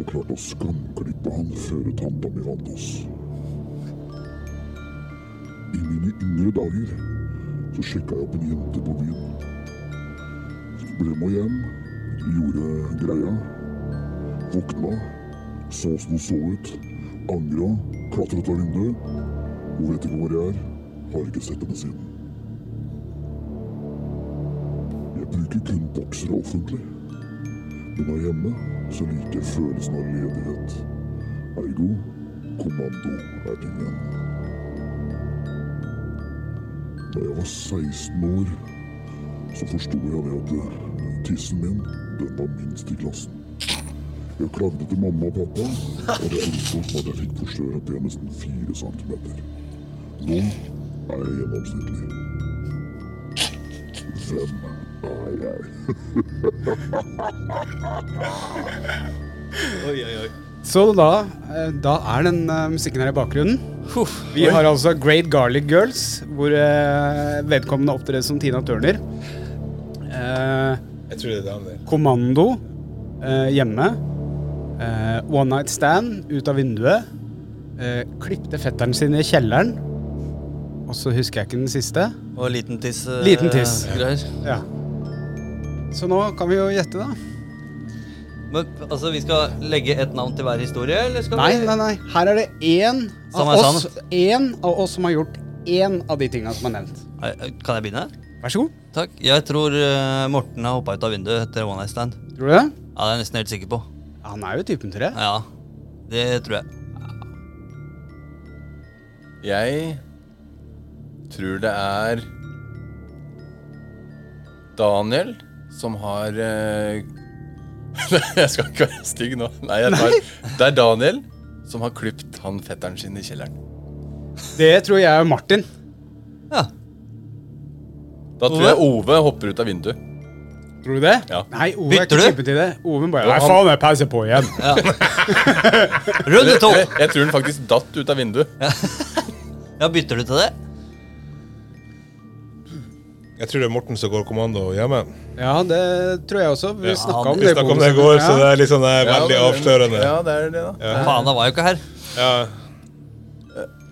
Speaker 8: og klarte å skamklippe han før tanta mi vant oss. I mine yngre dager så sjekka jeg opp en jente på byen ble med hjem, gjorde greia, våkna, så som hun så ut, angra, klatret av vinduet. Hun vet ikke hvor jeg er, har ikke sett henne siden. Jeg bruker kun boksere offentlig, men her hjemme så liker jeg følelsen av ledighet. Ergo kommando er tingen. Da jeg var 16 år, så forsto jeg det at eh, tissen min, den var minst i klassen. Jeg klagde til mamma og pappa, og det endte opp med at jeg fikk forstørret penisen fire centimeter. Nå er jeg gjennomsnittlig. Hvem er jeg?
Speaker 4: Så da, eh, da er den eh, musikken her i bakgrunnen. Vi har altså Great Garlic Girls, hvor eh, vedkommende opptrer som Tina Turner. Eh,
Speaker 7: Jeg tror det er det han der.
Speaker 4: Kommando eh, hjemme. Eh, one night stand ut av vinduet. Eh, Klippte fetteren sin i kjelleren. Og så husker jeg ikke den siste.
Speaker 6: Og liten tiss. eh,
Speaker 4: Liten tiss.
Speaker 6: Greier.
Speaker 4: Ja. Så nå kan vi jo gjette, da.
Speaker 6: Men altså, vi skal legge et navn til hver historie, eller skal
Speaker 4: Nei,
Speaker 6: vi
Speaker 4: nei, nei. Her er det én
Speaker 6: Som
Speaker 4: av
Speaker 6: er
Speaker 4: oss Én av oss som har gjort én av de tinga som er nevnt.
Speaker 6: Nei, eh, Kan jeg begynne?
Speaker 4: Vær så god.
Speaker 6: Takk. Jeg tror eh, Morten har hoppa ut av vinduet etter One Night Stand.
Speaker 4: Tror du det?
Speaker 6: Ja, det er jeg nesten helt sikker på.
Speaker 4: Han er jo typen til det.
Speaker 6: Ja, det tror jeg.
Speaker 5: Jeg tror det er Daniel som har eh, Nei, jeg skal ikke være stygg nå. Nei, jeg tar, Det er Daniel som har klipt han fetteren sin i kjelleren.
Speaker 4: Det tror jeg er Martin.
Speaker 6: Ja.
Speaker 5: Da tror jeg Ove hopper ut av vinduet.
Speaker 4: Tror du det?
Speaker 5: Ja.
Speaker 4: Nei, Ove er
Speaker 6: Bytter
Speaker 4: ikke
Speaker 6: du?
Speaker 4: typen til det. Ove bare
Speaker 5: Jo,
Speaker 4: Nei,
Speaker 5: han-
Speaker 4: faen, jeg peiser på igjen.
Speaker 6: Runde to!
Speaker 4: Eh,
Speaker 5: Jeg, jeg tror den faktisk datt ut av vinduet.
Speaker 6: Ja, bytter du til det?
Speaker 7: Jeg tror det er Morten som går kommando hjemme.
Speaker 4: Ja, det tror jeg også. Vi snakka om
Speaker 7: Vi
Speaker 4: det.
Speaker 7: snakket om det i går, så det er litt sånn eh,
Speaker 5: Ja, det
Speaker 7: veldig
Speaker 5: er-
Speaker 7: avslørende.
Speaker 5: Ja, det er det, da.
Speaker 6: Faen, han var jo ikke her.
Speaker 7: Ja.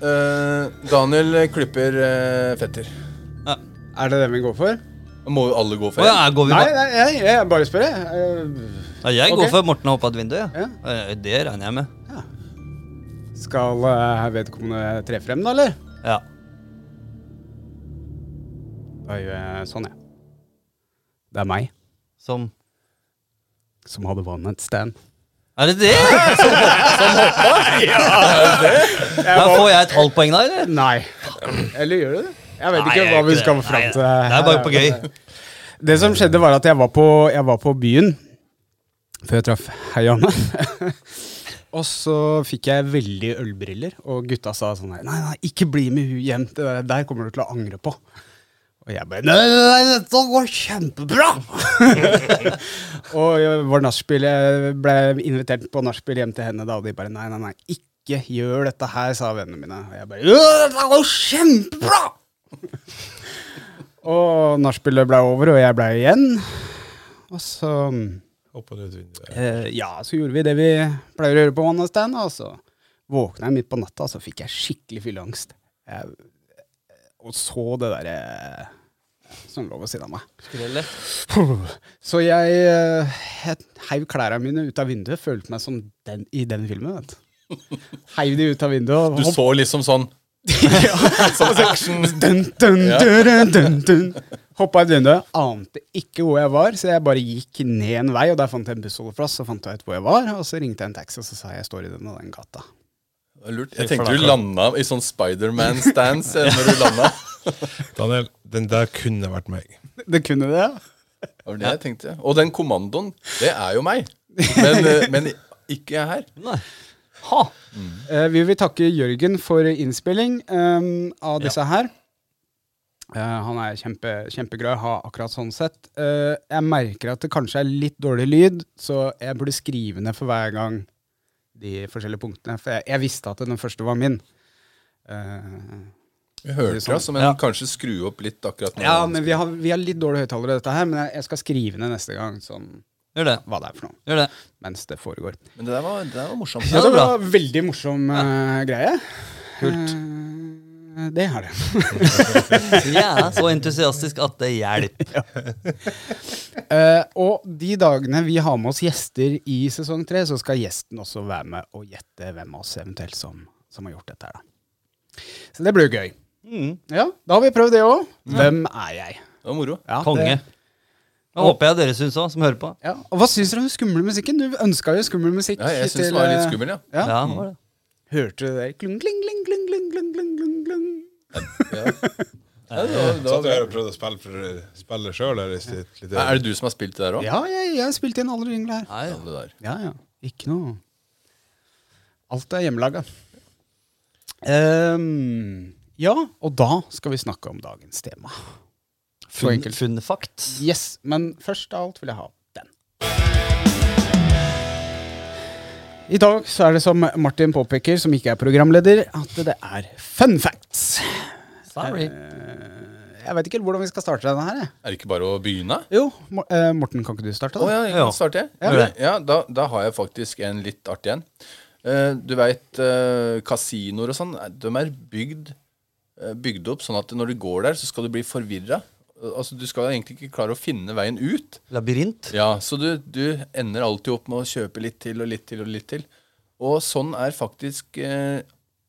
Speaker 5: Eh, Daniel klipper eh, fetter.
Speaker 4: Er det det vi går for?
Speaker 5: Da må jo alle gå for
Speaker 6: Å ja, jeg går vi
Speaker 4: Nei,
Speaker 6: da-
Speaker 4: nei, jeg, jeg Eh, bare spør, jeg.
Speaker 6: Ja, jeg
Speaker 4: Ok.
Speaker 6: går for Morten har hoppa ut vinduet. Ja.
Speaker 4: Ja.
Speaker 6: Eh, Det regner jeg med.
Speaker 4: Eh, Skal eh, vedkommende tre frem, da, eller?
Speaker 6: Ja.
Speaker 4: Da gjør jeg sånn, jeg. Det er meg
Speaker 6: Som
Speaker 4: som hadde one night stand.
Speaker 6: Er det det?! Som, som hoppa? Ja, det Får jeg et halvt poeng da, eller?
Speaker 4: Nei. Eller gjør du det? Jeg vet
Speaker 6: Nei,
Speaker 4: ikke
Speaker 6: jeg
Speaker 4: hva
Speaker 6: gjør
Speaker 4: vi
Speaker 6: ikke
Speaker 4: skal
Speaker 6: det.
Speaker 4: fram
Speaker 6: Nei,
Speaker 4: til.
Speaker 6: det er bare på gøy.
Speaker 4: Det som skjedde, var at jeg var på, jeg var på byen før jeg traff Hei, Janne. og så fikk jeg veldig ølbriller, og gutta sa sånn her Nei, nei, ikke bli med hun hjem. Det der, der kommer du til å angre på. Og jeg bare Nei, nei, nei, dette går kjempebra! og jeg var nachspiel, jeg ble invitert på nachspiel hjem til henne, da, og de bare Nei, nei, nei, ikke gjør dette her, sa vennene mine. Og jeg bare «Ja, Dette går kjempebra! Og nachspielet ble over, og jeg ble igjen. Og så
Speaker 7: Opp og ned ut vinduet.
Speaker 4: eh, Ja, så gjorde vi det vi pleier å gjøre på One Night Stand, og så våkna jeg midt på natta, og så fikk jeg skikkelig fylleangst. Jeg, og så det derre Som lå ved siden av meg.
Speaker 6: Skrellet.
Speaker 4: Så jeg, eh, jeg heiv klærne mine ut av vinduet. Følte meg som den i den filmen. Vet. du. Heiv de ut av vinduet og
Speaker 5: Du så liksom sånn Som action.
Speaker 4: dun, dun, dun, dun, dun. Hoppa ut vinduet. Ante ikke hvor jeg var, så jeg bare gikk ned en vei. Og Der fant jeg en bussholdeplass, så fant jeg ut hvor jeg var, og så ringte jeg en taxi og så sa jeg, jeg står i den og den gata.
Speaker 5: Det var Lurt. Jeg tenkte du landa i sånn Spiderman-stance eh, når du landa.
Speaker 7: Daniel, den der kunne vært meg.
Speaker 4: Det kunne det.
Speaker 5: Det var det jeg tenkte. Og den kommandoen, det er jo meg. Men, eh, men ikke jeg her.
Speaker 4: Ha! Eh, vi vil takke Jørgen for innspilling eh, av disse her. Eh, han er kjempe, kjempeglad i å ha akkurat sånn sett. Eh, jeg merker at det kanskje er litt dårlig lyd, så jeg burde skrive ned for hver gang de forskjellige punktene. For jeg, jeg visste at den første var min. Eh,
Speaker 5: Jeg hørte det, altså, men kanskje skru opp litt akkurat nå.
Speaker 4: sånn. ja, men vi har, vi har litt dårlige høyttalere, i dette her, men jeg, jeg skal skrive ned neste gang sånn,
Speaker 6: Gjør det.
Speaker 4: hva det er for noe.
Speaker 6: Gjør det.
Speaker 4: Mens det foregår.
Speaker 5: Men det der var, det der var morsomt.
Speaker 6: Ja, det
Speaker 4: det
Speaker 6: er bra.
Speaker 4: var en veldig morsom eh, greie.
Speaker 6: Kult.
Speaker 4: Eh, det er det.
Speaker 6: Jeg er så entusiastisk at det hjelper.
Speaker 4: Eh, og de dagene vi har med oss gjester i sesong tre, så skal gjesten også være med og gjette hvem av oss eventuelt som, som har gjort dette her, da. Så det blir jo gøy.
Speaker 5: Mm.
Speaker 4: Ja, da har vi prøvd det òg. Hvem er jeg?
Speaker 5: Det var moro.
Speaker 4: Ja,
Speaker 6: Konge.
Speaker 4: det-
Speaker 6: Det håper jeg dere syns òg, som hører på.
Speaker 4: Ja. Og hva syns dere om den skumle musikken? Du ønska jo skummel musikk.
Speaker 5: Ja, jeg syns
Speaker 4: til,
Speaker 5: den var litt
Speaker 4: eh,
Speaker 5: skummel, ja.
Speaker 4: Ja.
Speaker 6: Ja, det var det.
Speaker 4: Hørte du det? Klung, kling, kling, kling, kling, kling, kling, kling, kling.
Speaker 5: ja det var, det
Speaker 7: Satt
Speaker 5: var,
Speaker 7: jeg her og prøvde å spille, for, spille sjøl her i sitt lite
Speaker 5: er det du som har spilt det der òg?
Speaker 4: Ja, jeg, jeg spilte inn alle ringlene her.
Speaker 5: Nei, det der.
Speaker 4: Ja, ja. Ikke noe Alt er hjemmelaga. Ehm, ja, og da skal vi snakke om dagens tema. Så
Speaker 6: Fun,
Speaker 4: enkelt.
Speaker 6: funfakt.
Speaker 4: Yes, Men først av alt vil jeg ha den. I dag så er det som Martin påpeker, som ikke er programleder, at det er fun facts.
Speaker 6: Sorry.
Speaker 4: Jeg veit ikke helt hvordan vi skal starte denne her. jeg.
Speaker 5: Er det ikke bare å begynne?
Speaker 4: Jo, Mor- eh, Morten, kan ikke du starte?
Speaker 5: Å
Speaker 4: da?
Speaker 5: ja, jeg kan starte, jeg.
Speaker 6: Gjør det.
Speaker 5: Ja, da, da har jeg faktisk en litt artig en. Eh, du veit kasinoer og sånn, eh, de er bygd, eh, bygd opp sånn at når du går der, så skal du bli forvirra. Eh, Altså, du skal egentlig ikke klare å finne veien ut.
Speaker 6: Labyrint.
Speaker 5: Ja, Så du, du ender alltid opp med å kjøpe litt til og litt til og litt til. Og sånn er faktisk eh,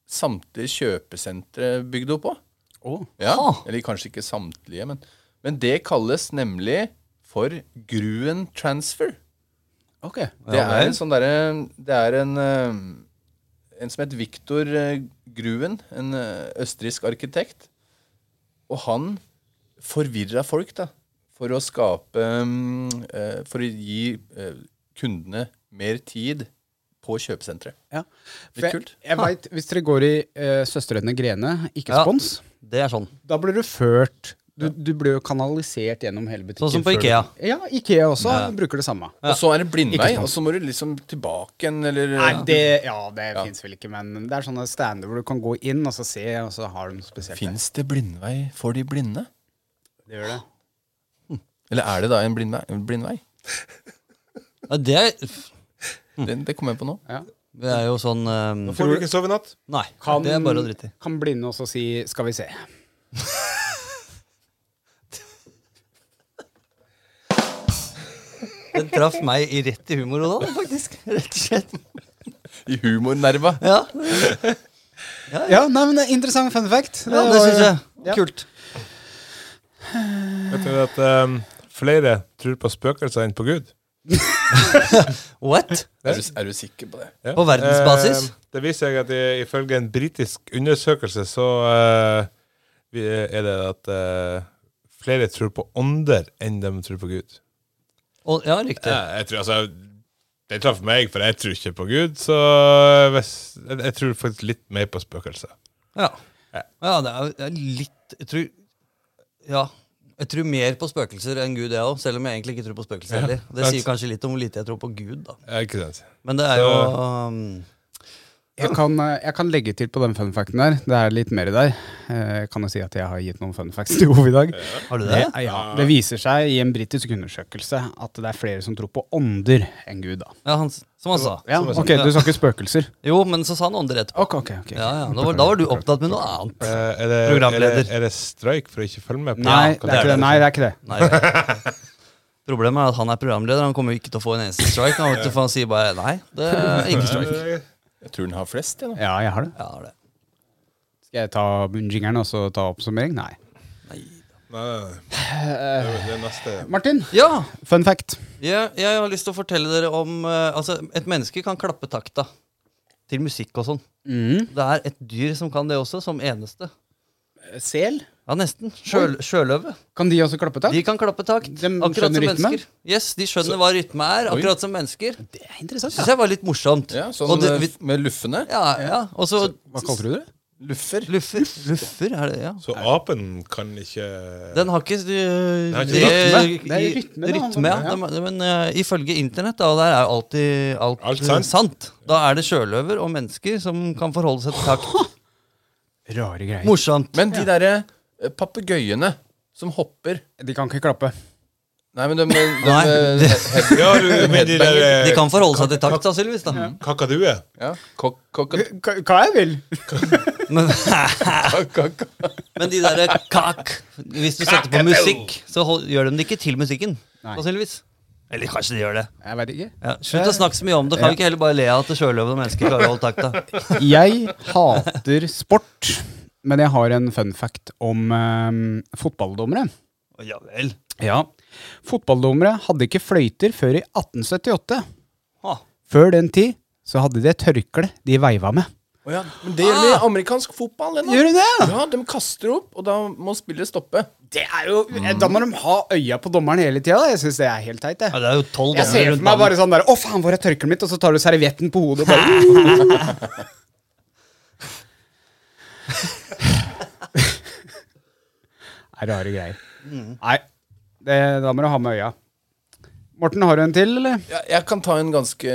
Speaker 5: samtlige kjøpesentre bygd opp òg.
Speaker 4: Å.
Speaker 5: Ja,
Speaker 6: Ha.
Speaker 5: Eller kanskje ikke samtlige, men, men det kalles nemlig for gruen transfer.
Speaker 4: Ok.
Speaker 5: Det
Speaker 6: Ja,
Speaker 5: er
Speaker 6: vel.
Speaker 5: en sånn derre Det er en eh, En som het Viktor Gruen, en eh, østerriksk arkitekt. Og han forvirra folk, da. For å skape mm, eh, For å gi eh, kundene mer tid på kjøpesenteret.
Speaker 4: Ja.
Speaker 5: Litt
Speaker 4: For jeg,
Speaker 5: kult.
Speaker 4: jeg vet, Hvis dere går i eh, Søstrene Grene, ikke
Speaker 6: Ja.
Speaker 4: spons,
Speaker 6: Det er sånn.
Speaker 4: Da blir du ført Du, du blir jo kanalisert gjennom hele butikken.
Speaker 6: Sånn som på
Speaker 4: før du-
Speaker 6: Ikea.
Speaker 4: Ja, Ikea også
Speaker 6: Ja.
Speaker 4: bruker det samme.
Speaker 5: Og så er det blindvei,
Speaker 4: Ikke sant.
Speaker 5: og så må du liksom tilbake igjen, eller
Speaker 4: Nei, det, ja, det finnes fins vel ikke, men det er sånne stander hvor du kan gå inn og så se, og så har de noe spesielt.
Speaker 5: Fins det blindvei for de blinde?
Speaker 4: Det gjør det.
Speaker 5: Eller er det da en blindvei? En blindvei?
Speaker 6: Ja, det, er,
Speaker 5: Det, det kom jeg på nå.
Speaker 4: Ja.
Speaker 6: det er jo sånn ehm,
Speaker 7: Får du ikke sove i natt?
Speaker 6: Nei.
Speaker 4: Kan,
Speaker 6: Det er bare å drite i.
Speaker 4: kan blinde også si 'skal vi se'.
Speaker 6: Den traff meg i rett i humorhodet, faktisk. Rett og slett.
Speaker 5: I humornerva.
Speaker 6: Ja,
Speaker 4: Ja, nei, men det er Interessant fun fact.
Speaker 6: ja det syns jeg. Kult.
Speaker 7: Vet du at ehm, flere tror på spøkelser enn på Gud?
Speaker 6: What?
Speaker 5: Er du, er du sikker på det?
Speaker 7: Ja.
Speaker 6: På verdensbasis?
Speaker 7: Eh, det viser seg at i- ifølge en britisk undersøkelse så eh, vi- er det at eh, flere tror på ånder enn de tror på Gud.
Speaker 6: Og, ja, riktig.
Speaker 7: Ja, jeg tror, altså, det traff meg, for jeg tror ikke på Gud. Så hvis, jeg, jeg tror faktisk litt mer på spøkelser.
Speaker 6: Ja. ja, det er jo det er litt Jeg tror Ja. Jeg tror mer på spøkelser enn Gud, jeg òg. Selv om jeg egentlig ikke tror på spøkelser heller. Det sier kanskje litt om hvor lite jeg tror på Gud, da.
Speaker 7: Ja, ikke sant?
Speaker 6: Men det er jo um,
Speaker 4: jeg kan, eh, jeg kan legge til på den funfacten der. Det er litt mer der. Eh, Kan jeg si at jeg har gitt noen funfacts til Ove i dag?
Speaker 6: Har du det?
Speaker 4: Det, ja, det viser seg i en britisk undersøkelse at det er flere som tror på ånder enn Gud. da.
Speaker 6: Ja, han, s- som han sa.
Speaker 4: Ja, ok, Du sa ikke spøkelser?
Speaker 6: Jo, men så sa han ånder etterpå.
Speaker 4: Ok, ok, ok.
Speaker 6: Ja, ja, da var, da var du opptatt med noe annet.
Speaker 7: Eh, Er det, er det,
Speaker 6: Programleder.
Speaker 7: er det streik for å ikke følge med? på-
Speaker 4: Nei, det
Speaker 7: Kan
Speaker 4: er ikke det. Nei, det er ikke det.
Speaker 6: Nei, vel. Problemet er at han er programleder. Han kommer jo ikke til å få en eneste strike. Han, vet du, for han sier bare nei. Det er ikke strike.
Speaker 7: Eh,
Speaker 5: Jeg tror den har flest, jeg. da.
Speaker 4: Ja, jeg har det.
Speaker 6: Ja, det.
Speaker 4: Skal jeg ta jingeren og så ta oppsummering? Nei.
Speaker 7: Nei, nei, nei.
Speaker 4: Eh.
Speaker 7: Det er- det er neste.
Speaker 4: Martin,
Speaker 6: ja
Speaker 4: fun fact.
Speaker 6: jeg, jeg har lyst til å fortelle dere om eh, Altså, et menneske kan klappe takta til musikk og sånn. Det er et dyr som kan det også, som eneste.
Speaker 4: Sel?
Speaker 6: Ja, nesten. Sjøl, sjøløve.
Speaker 4: Kan de også klappe tak?
Speaker 6: De kan klappe takt.
Speaker 4: De
Speaker 6: akkurat som
Speaker 4: skjønner rytme?
Speaker 6: mennesker. Yes, De skjønner hva rytme er, akkurat som mennesker.
Speaker 4: Det er interessant.
Speaker 6: Syns jeg var litt morsomt.
Speaker 5: Ja, sånn
Speaker 6: og det, vi,
Speaker 5: med- med luffene.
Speaker 6: ja, ja. Og så
Speaker 4: Hva kalte du det?
Speaker 5: Luffer.
Speaker 6: luffer. Luffer, er det ja.
Speaker 7: Så apen kan ikke
Speaker 6: Den har ikke øh,
Speaker 7: har ikke
Speaker 4: rytme. Det er rytme, da.
Speaker 6: rytme, ja.
Speaker 4: Ja.
Speaker 6: Den- Men øh, ifølge internett, da, og der er jo alltid alt,
Speaker 7: Alt
Speaker 6: øh,
Speaker 7: sant.
Speaker 6: sant. Da er det sjøløver og mennesker som kan forholde seg til takt.
Speaker 4: Rare greier.
Speaker 6: Morsomt.
Speaker 5: Men de derre eh, papegøyene som hopper
Speaker 4: De kan ikke klappe.
Speaker 5: Nei, men eh, de, de, de,
Speaker 6: Nei,
Speaker 7: øh,
Speaker 6: de,
Speaker 7: Ja, du men de der
Speaker 6: de
Speaker 7: eh,
Speaker 6: kan forholde seg til takt, sannsynligvis. da
Speaker 7: kakadue.
Speaker 5: ja, kok, kok,
Speaker 4: Hva jeg vil?
Speaker 6: Men,
Speaker 5: kok, kok.
Speaker 6: men de derre kak Hvis du setter på musikk, så hold, gjør de det ikke til musikken. Sannsynligvis. Eller kanskje de gjør det.
Speaker 4: Jeg veit ikke.
Speaker 6: Ja, slutt å snakke så mye om det. Kan vi ikke heller bare le av at sjøløver og mennesker klarer å holde takta?
Speaker 4: Jeg hater sport, men jeg har en fun fact om eh, fotballdommere.
Speaker 6: Ja vel.
Speaker 4: Ja. Fotballdommere hadde ikke fløyter før i 1878.
Speaker 6: Ha.
Speaker 4: Før den tid så hadde de et tørkle de veiva med.
Speaker 5: Å ja, men det gjelder
Speaker 6: Ah!
Speaker 5: i amerikansk fotball. det nå.
Speaker 4: Gjør de det?
Speaker 5: Ja, De kaster opp, og da må spillet stoppe.
Speaker 4: Det er jo, eh, Da må de ha øya på dommeren hele tida. Jeg syns det er helt teit.
Speaker 6: Ja, det er jo tolv
Speaker 4: Jeg ser for meg bare sånn der Å, faen, hvor er tørkleet mitt? Og så tar du servietten på hodet og bare Det er rare greier. Nei, det, da må du ha med øya. Morten, har du en til, eller?
Speaker 5: Ja, jeg kan ta en ganske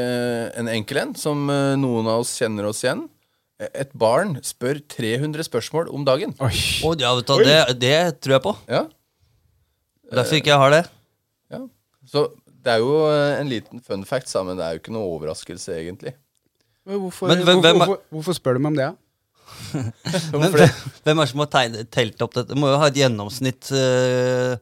Speaker 5: en enkel en, som eh, noen av oss kjenner oss igjen. E, Et barn spør 300 spørsmål om dagen.
Speaker 4: Oi.
Speaker 6: Å, ja, vet du, hva, det, det tror jeg på.
Speaker 5: Ja,
Speaker 6: Derfor ikke jeg har det.
Speaker 5: ja. Så det er jo eh, en liten fun fact, sa, men det er jo ikke noe overraskelse, egentlig.
Speaker 4: Men hvorfor,
Speaker 6: Men hvem- hvem er-
Speaker 4: hvorfor, hvorfor spør du meg om det? da?
Speaker 6: Men hvem er det som har tegne, telt opp dette? Det må jo ha et gjennomsnitt eh,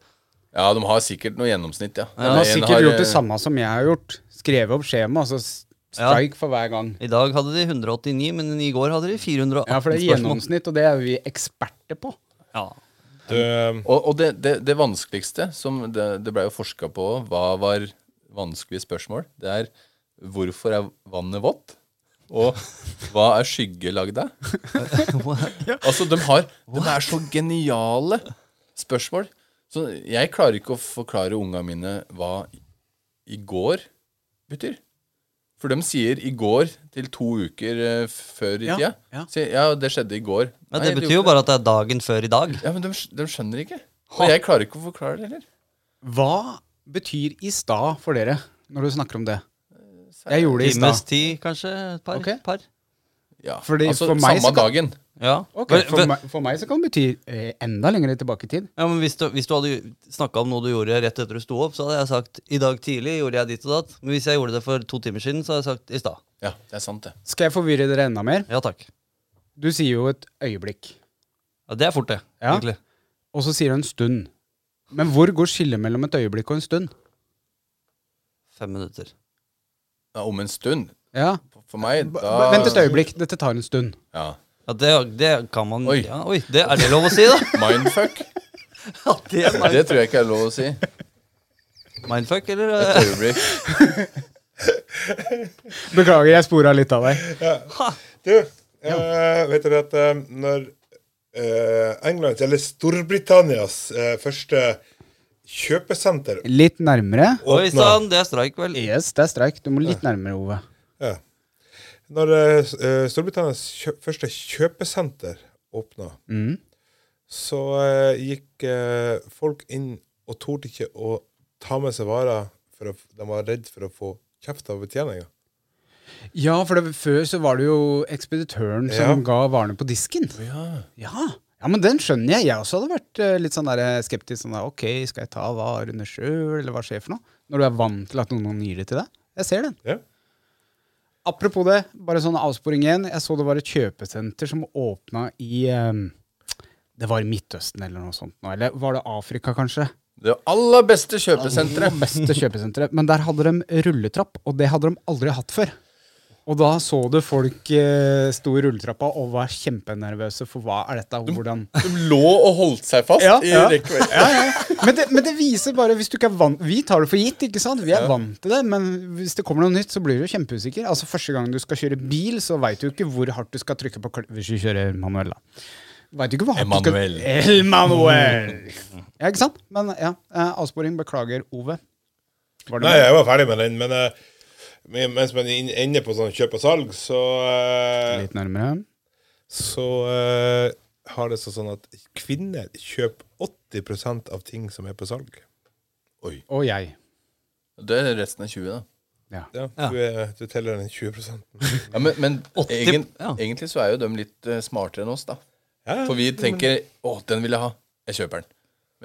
Speaker 5: Ja, de har sikkert noe gjennomsnitt, ja.
Speaker 4: De har
Speaker 5: En
Speaker 4: sikkert gjort det
Speaker 5: eh,
Speaker 4: samme som jeg har gjort. Skrevet opp skjema, altså s-
Speaker 6: Ja.
Speaker 4: strike for hver gang.
Speaker 6: I dag hadde de 189, men i går hadde de 418
Speaker 4: Ja, for det er
Speaker 6: spørsmål.
Speaker 4: gjennomsnitt, og det er vi eksperter på.
Speaker 6: Ja.
Speaker 7: Du, eh,
Speaker 5: Og, og det, det, det vanskeligste, som det, det blei jo forska på, hva var vanskelige spørsmål, det er hvorfor er vannet vått? Og hva er skygge lagd av? Altså, de, har, de er så geniale spørsmål. Så jeg klarer ikke å forklare unga mine hva i går betyr. For de sier 'i går' til to uker eh, før i
Speaker 4: Ja,
Speaker 5: tida.
Speaker 4: ja.
Speaker 5: Sier, ja, det skjedde i går.
Speaker 6: Men
Speaker 5: Nei,
Speaker 6: det betyr jo
Speaker 5: gjorde
Speaker 6: bare at det er dagen før i dag.
Speaker 5: ja, men de, skj- de skjønner ikke. Og jeg klarer ikke å forklare det heller.
Speaker 4: Hva betyr i stad for dere, når du snakker om det? Jeg gjorde det i
Speaker 6: Times
Speaker 4: stad.
Speaker 6: tid, kanskje? Et par?
Speaker 4: Ok.
Speaker 6: par.
Speaker 5: Ja.
Speaker 4: Fordi
Speaker 5: altså,
Speaker 4: for meg
Speaker 5: samme
Speaker 4: så kan-
Speaker 5: dagen.
Speaker 6: Ja.
Speaker 4: Ok,
Speaker 6: Vel,
Speaker 4: for,
Speaker 6: vel-
Speaker 4: meg, for meg så kan det bety eh, enda lenger tilbake i tid.
Speaker 6: ja, men hvis du, hvis du hadde snakka om noe du gjorde rett etter du sto opp, så hadde jeg sagt i dag tidlig gjorde jeg ditt og datt. Men hvis jeg gjorde det for to timer siden, så hadde jeg sagt i stad.
Speaker 5: Ja, det er sant, det.
Speaker 4: Skal jeg forvirre dere enda mer?
Speaker 6: Ja takk.
Speaker 4: Du sier jo et øyeblikk,
Speaker 6: Ja, det er fort, det.
Speaker 4: Ja.
Speaker 6: Egentlig.
Speaker 4: og så sier du en stund. Men hvor går skillet mellom et øyeblikk og en stund?
Speaker 6: Fem minutter.
Speaker 5: Ja, om en stund.
Speaker 4: Ja,
Speaker 5: For meg, da
Speaker 4: Vent et øyeblikk, dette tar en stund.
Speaker 5: Ja.
Speaker 6: Ja, det, det kan man
Speaker 5: Oi.
Speaker 6: Ja, oi. Det er det lov å si, da?
Speaker 5: Mindfuck.
Speaker 6: Ja, det er
Speaker 5: Det tror jeg ikke er lov å si.
Speaker 6: Mindfuck, eller?
Speaker 5: Et
Speaker 6: eh,
Speaker 5: øyeblikk.
Speaker 4: Beklager, jeg spora litt av deg.
Speaker 7: du eh, vet dere at eh, når eh, Englands, eller Storbritannias, eh, første kjøpesenter
Speaker 4: Litt nærmere.
Speaker 6: Oi
Speaker 7: åpna
Speaker 6: sann, det er streik, vel.
Speaker 4: Yes, det er streik. Du må litt nærmere, Ove.
Speaker 7: Ja. Når eh, s- eh, Storbritannias kjø første kjøpesenter åpna, så eh, gikk eh, folk inn og torde ikke å ta med seg varer, for å, f- de var redd for å få kjeft av betjeninga.
Speaker 4: Ja, for det, før så var det jo ekspeditøren som
Speaker 7: Ja.
Speaker 4: ga varene på disken. Ja. ja. men den skjønner jeg. Jeg også hadde vært eh, litt sånn der eh, skeptisk. Sånn der, ok, skal jeg ta varene sjøl, eller hva skjer for noe? Når du er vant til at noen gir det til deg. Jeg ser den.
Speaker 7: Ja.
Speaker 4: Apropos det, bare sånn avsporing igjen. Jeg så det var et kjøpesenter som åpna i eh, Det var i Midtøsten eller noe sånt nå. Eller var det Afrika, kanskje?
Speaker 5: Det aller beste kjøpesenteret.
Speaker 4: Det beste kjøpesenteret. Men der hadde de rulletrapp, og det hadde de aldri hatt før. Og da så du folk eh, sto i rulletrappa og var kjempenervøse for hva er dette, og hvordan
Speaker 5: De lå og holdt seg fast
Speaker 4: Ja,
Speaker 5: i
Speaker 4: ja.
Speaker 5: rekkverket.
Speaker 4: men det, men det viser bare hvis du ikke er vant Vi tar det for gitt, ikke sant? Vi er vant til det, men hvis det kommer noe nytt, så blir du jo kjempeusikker. Altså Første gang du skal kjøre bil, så veit du ikke hvor hardt du skal trykke på kl Hvis du kjører manuell, da. Vet du ikke hvor hardt
Speaker 5: Emanuel.
Speaker 4: Du skal El Manuel! Ja, ikke sant? Men ja, eh, avsporing. Beklager, Ove. Var det
Speaker 7: Nei, jeg var ferdig med den, men eh, men- mens man er inn- inne på sånn kjøp og salg, så eh,
Speaker 4: litt nærmere?
Speaker 7: så eh, har det seg sånn at kvinner kjøper 80 av ting som er på salg.
Speaker 4: Og jeg.
Speaker 5: Det er resten av 20, da.
Speaker 7: Ja, Du, er, du teller den 20
Speaker 5: Ja, men men
Speaker 6: 80,
Speaker 5: egen,
Speaker 6: ja.
Speaker 5: egentlig så er jo de litt eh, smartere enn oss, da.
Speaker 7: Ja, ja.
Speaker 5: For vi tenker 'Å, den vil jeg ha. Jeg kjøper den'.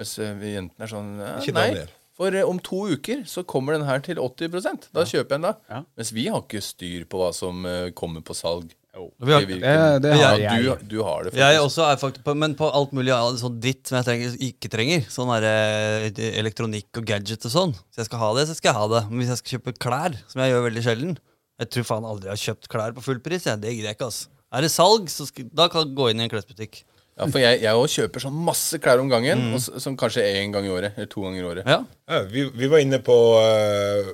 Speaker 5: Mens eh, vi jentene er sånn eh,
Speaker 7: Ikke den
Speaker 5: Nei,
Speaker 7: der.
Speaker 5: for eh, om to uker så kommer den her til 80 Da kjøper jeg den da.
Speaker 4: Ja.
Speaker 5: Mens vi har ikke styr på hva som eh, kommer på salg.
Speaker 6: Vi har-
Speaker 5: Det virker-
Speaker 4: Det- det har
Speaker 5: ja,
Speaker 4: jeg.
Speaker 5: Du, du har det,
Speaker 6: Jeg
Speaker 5: faktisk.
Speaker 6: også er faktisk på, men på alt mulig annet sånn dritt som jeg trenger, ikke trenger. Sånn her, eh, elektronikk og gadget og sånn. Så jeg skal ha det, så skal jeg ha det. Men hvis jeg skal kjøpe klær, som jeg gjør veldig sjelden Jeg tror faen aldri jeg har kjøpt klær på full pris. Jeg. Det gidder jeg ikke, ass. Er det salg, så skal, da kan jeg gå inn i en klesbutikk.
Speaker 5: Ja, for jeg, jeg også kjøper sånn masse klær om gangen, og s- som kanskje én gang i året. Eller to ganger i året.
Speaker 6: Ja.
Speaker 7: Ja, vi, vi var inne på eh,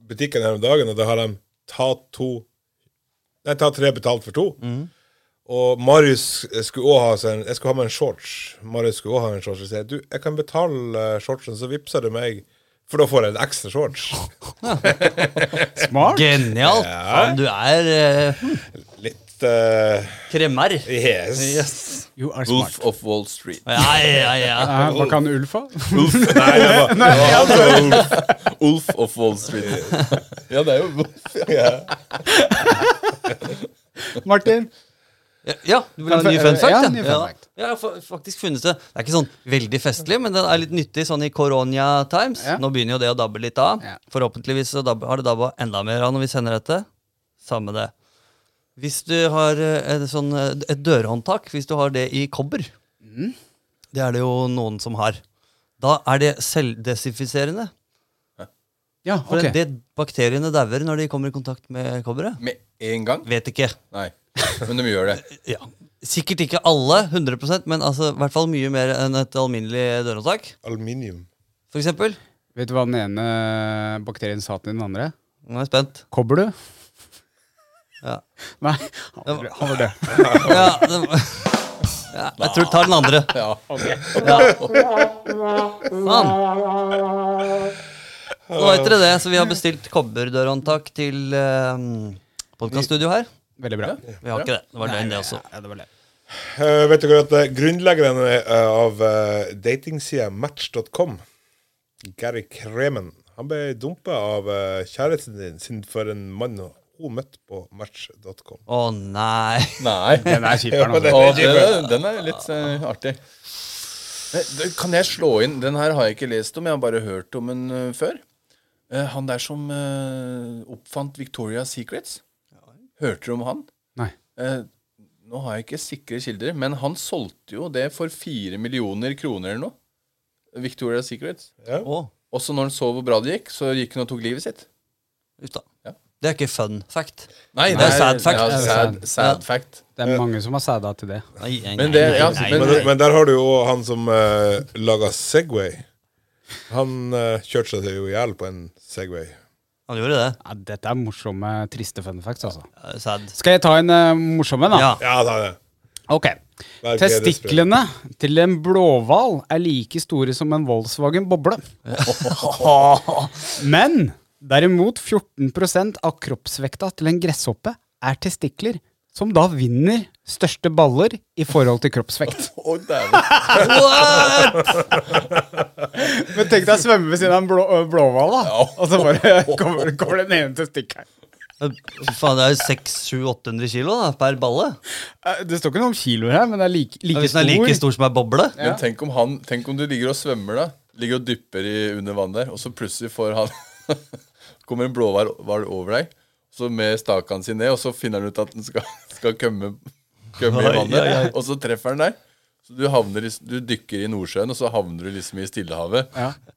Speaker 7: butikken her om dagen, og da har de ta to Nei, ta tre betalt for to. Og Marius skulle også ha seg en, Jeg skulle ha meg en shorts. Marius skulle også ha en shorts. Jeg sier du, jeg kan betale eh, shortsen, så vippser du meg. For da får jeg en ekstra shorts.
Speaker 4: Smart.
Speaker 6: Genialt! Faen, du er eh,
Speaker 7: Litt eh,
Speaker 6: kremmer.
Speaker 7: Yes.
Speaker 6: Yes.
Speaker 4: You are
Speaker 5: Wolf
Speaker 4: smart.
Speaker 5: of Wall Street.
Speaker 6: Ja, ja, ja.
Speaker 4: Eh, hva kan Ulf ha?
Speaker 7: Nei, det var, det var han som var Ulf.
Speaker 5: Ulf of Wall Street. ja, det er jo Wolf.
Speaker 7: Ja.
Speaker 4: Martin?
Speaker 6: Ja, Ja, du vil ha en
Speaker 4: Fun-
Speaker 6: ny fun fact?
Speaker 4: ja,
Speaker 6: Ja,
Speaker 4: ny fun
Speaker 6: ja.
Speaker 4: fact.
Speaker 6: ja, jeg har fa- faktisk funnet det. Det er ikke sånn veldig festlig, men den er litt nyttig sånn i Coronia Times.
Speaker 4: Ja.
Speaker 6: Nå begynner jo det å dabbe litt av.
Speaker 4: Ja.
Speaker 6: Forhåpentligvis så dabbe, har det dabba enda mer av når vi sender dette. Samme det. Hvis du har eh, et, sånn, eh, et dørhåndtak, hvis du har det i kobber
Speaker 4: Mm.
Speaker 6: Det er det jo noen som har. Da er det selvdesinfiserende.
Speaker 4: Ja,
Speaker 6: For
Speaker 4: ok.
Speaker 6: det bakteriene dauer når de kommer i kontakt med kobberet.
Speaker 5: Med én gang?
Speaker 6: Vet ikke.
Speaker 5: Nei. Men de gjør det.
Speaker 6: Ja. Sikkert ikke alle, 100 men altså, i hvert fall mye mer enn et alminnelig dørhåndtak.
Speaker 7: Aluminium.
Speaker 6: For eksempel.
Speaker 4: Vet du hva den ene bakterien sa til den andre?
Speaker 6: Nå er jeg spent.
Speaker 4: Kobber du?
Speaker 6: Ja.
Speaker 4: Nei, han var- han var død.
Speaker 6: Ja, det, ja, jeg tror jeg tar den andre.
Speaker 5: Ja.
Speaker 6: Sånn. Nå vet dere det, så vi har bestilt kobberdørhåndtak til eh, podkaststudio her.
Speaker 4: Veldig bra.
Speaker 6: Vi har ikke det. Det var den, det også.
Speaker 7: Eh, vet dere at eh, grunnleggeren eh, av uh, datingsida Match.com, Gary Kremen, han ble dumpa av eh, kjæresten din sin for en mann hun møtte på Match.com.
Speaker 6: Å nei.
Speaker 5: Nei.
Speaker 4: Den er kjip, den, altså.
Speaker 5: Og den, den er litt eh, artig. Eh, det- Kan jeg slå inn Den her har jeg ikke lest om, jeg har bare hørt om den eh, før. Eh, han der som eh, oppfant Victoria's Secrets. Hørte du om han?
Speaker 4: Nei.
Speaker 5: Eh, nå har jeg ikke sikre kilder, men han solgte jo det for fire millioner kroner eller noe. Victoria's Secrets.
Speaker 6: Å,
Speaker 5: Også når han så hvor bra det gikk, så gikk han og tok livet sitt.
Speaker 6: uff da.
Speaker 5: Ja.
Speaker 6: Det er ikke fun fact.
Speaker 5: Nei,
Speaker 6: det er sad fact.
Speaker 5: Ja,
Speaker 6: Det er
Speaker 5: sad,
Speaker 4: sad.
Speaker 5: sad fact.
Speaker 4: Det er mange som har sæda til det.
Speaker 6: Nei, nei,
Speaker 5: Men det-
Speaker 6: nei,
Speaker 5: ja,
Speaker 6: nei,
Speaker 7: Men,
Speaker 5: men-
Speaker 6: nei.
Speaker 7: men der har du jo han som uh, laga Segway. Han eh, kjørte seg jo i hjel på en Segway.
Speaker 6: Han gjorde det.
Speaker 4: Ja, dette er morsomme, triste fun facts, altså.
Speaker 6: Eh, Sad.
Speaker 4: Skal jeg ta en eh, morsomme, da?
Speaker 6: Ja.
Speaker 7: Ja, da, det.
Speaker 4: Ok.
Speaker 7: Vær
Speaker 4: Testiklene til en blåhval er like store som en Volkswagen boble. Men derimot 14 av kroppsvekta til en gresshoppe er testikler, som da vinner største baller i forhold til kroppsvekt.
Speaker 5: Å, dæven.
Speaker 4: Men tenk deg å svømme ved siden av en blå, blåhval, da. Og så bare kommer, kommer den ene testikkelen.
Speaker 6: Fy Eh, faen, det er jo 600-700-800 kilo da, per balle.
Speaker 4: Eh, Det står ikke noe om kiloer her, men det er like,
Speaker 6: Ja,
Speaker 4: like
Speaker 6: Hvis den
Speaker 4: stor.
Speaker 6: er like stor som ei boble.
Speaker 5: Men tenk om, han, tenk om du ligger og svømmer, da. Ligger og dypper i, under vann der, og så plutselig får han Kommer en blåhval over deg, så med staken sin ned, og så finner han ut at den skal, skal kømme, kømme i
Speaker 6: Oi,
Speaker 5: vannet.
Speaker 6: oi, oi.
Speaker 5: Og så treffer han deg. Så du, havner, i- du dykker i Nordsjøen, og så havner du liksom i Stillehavet.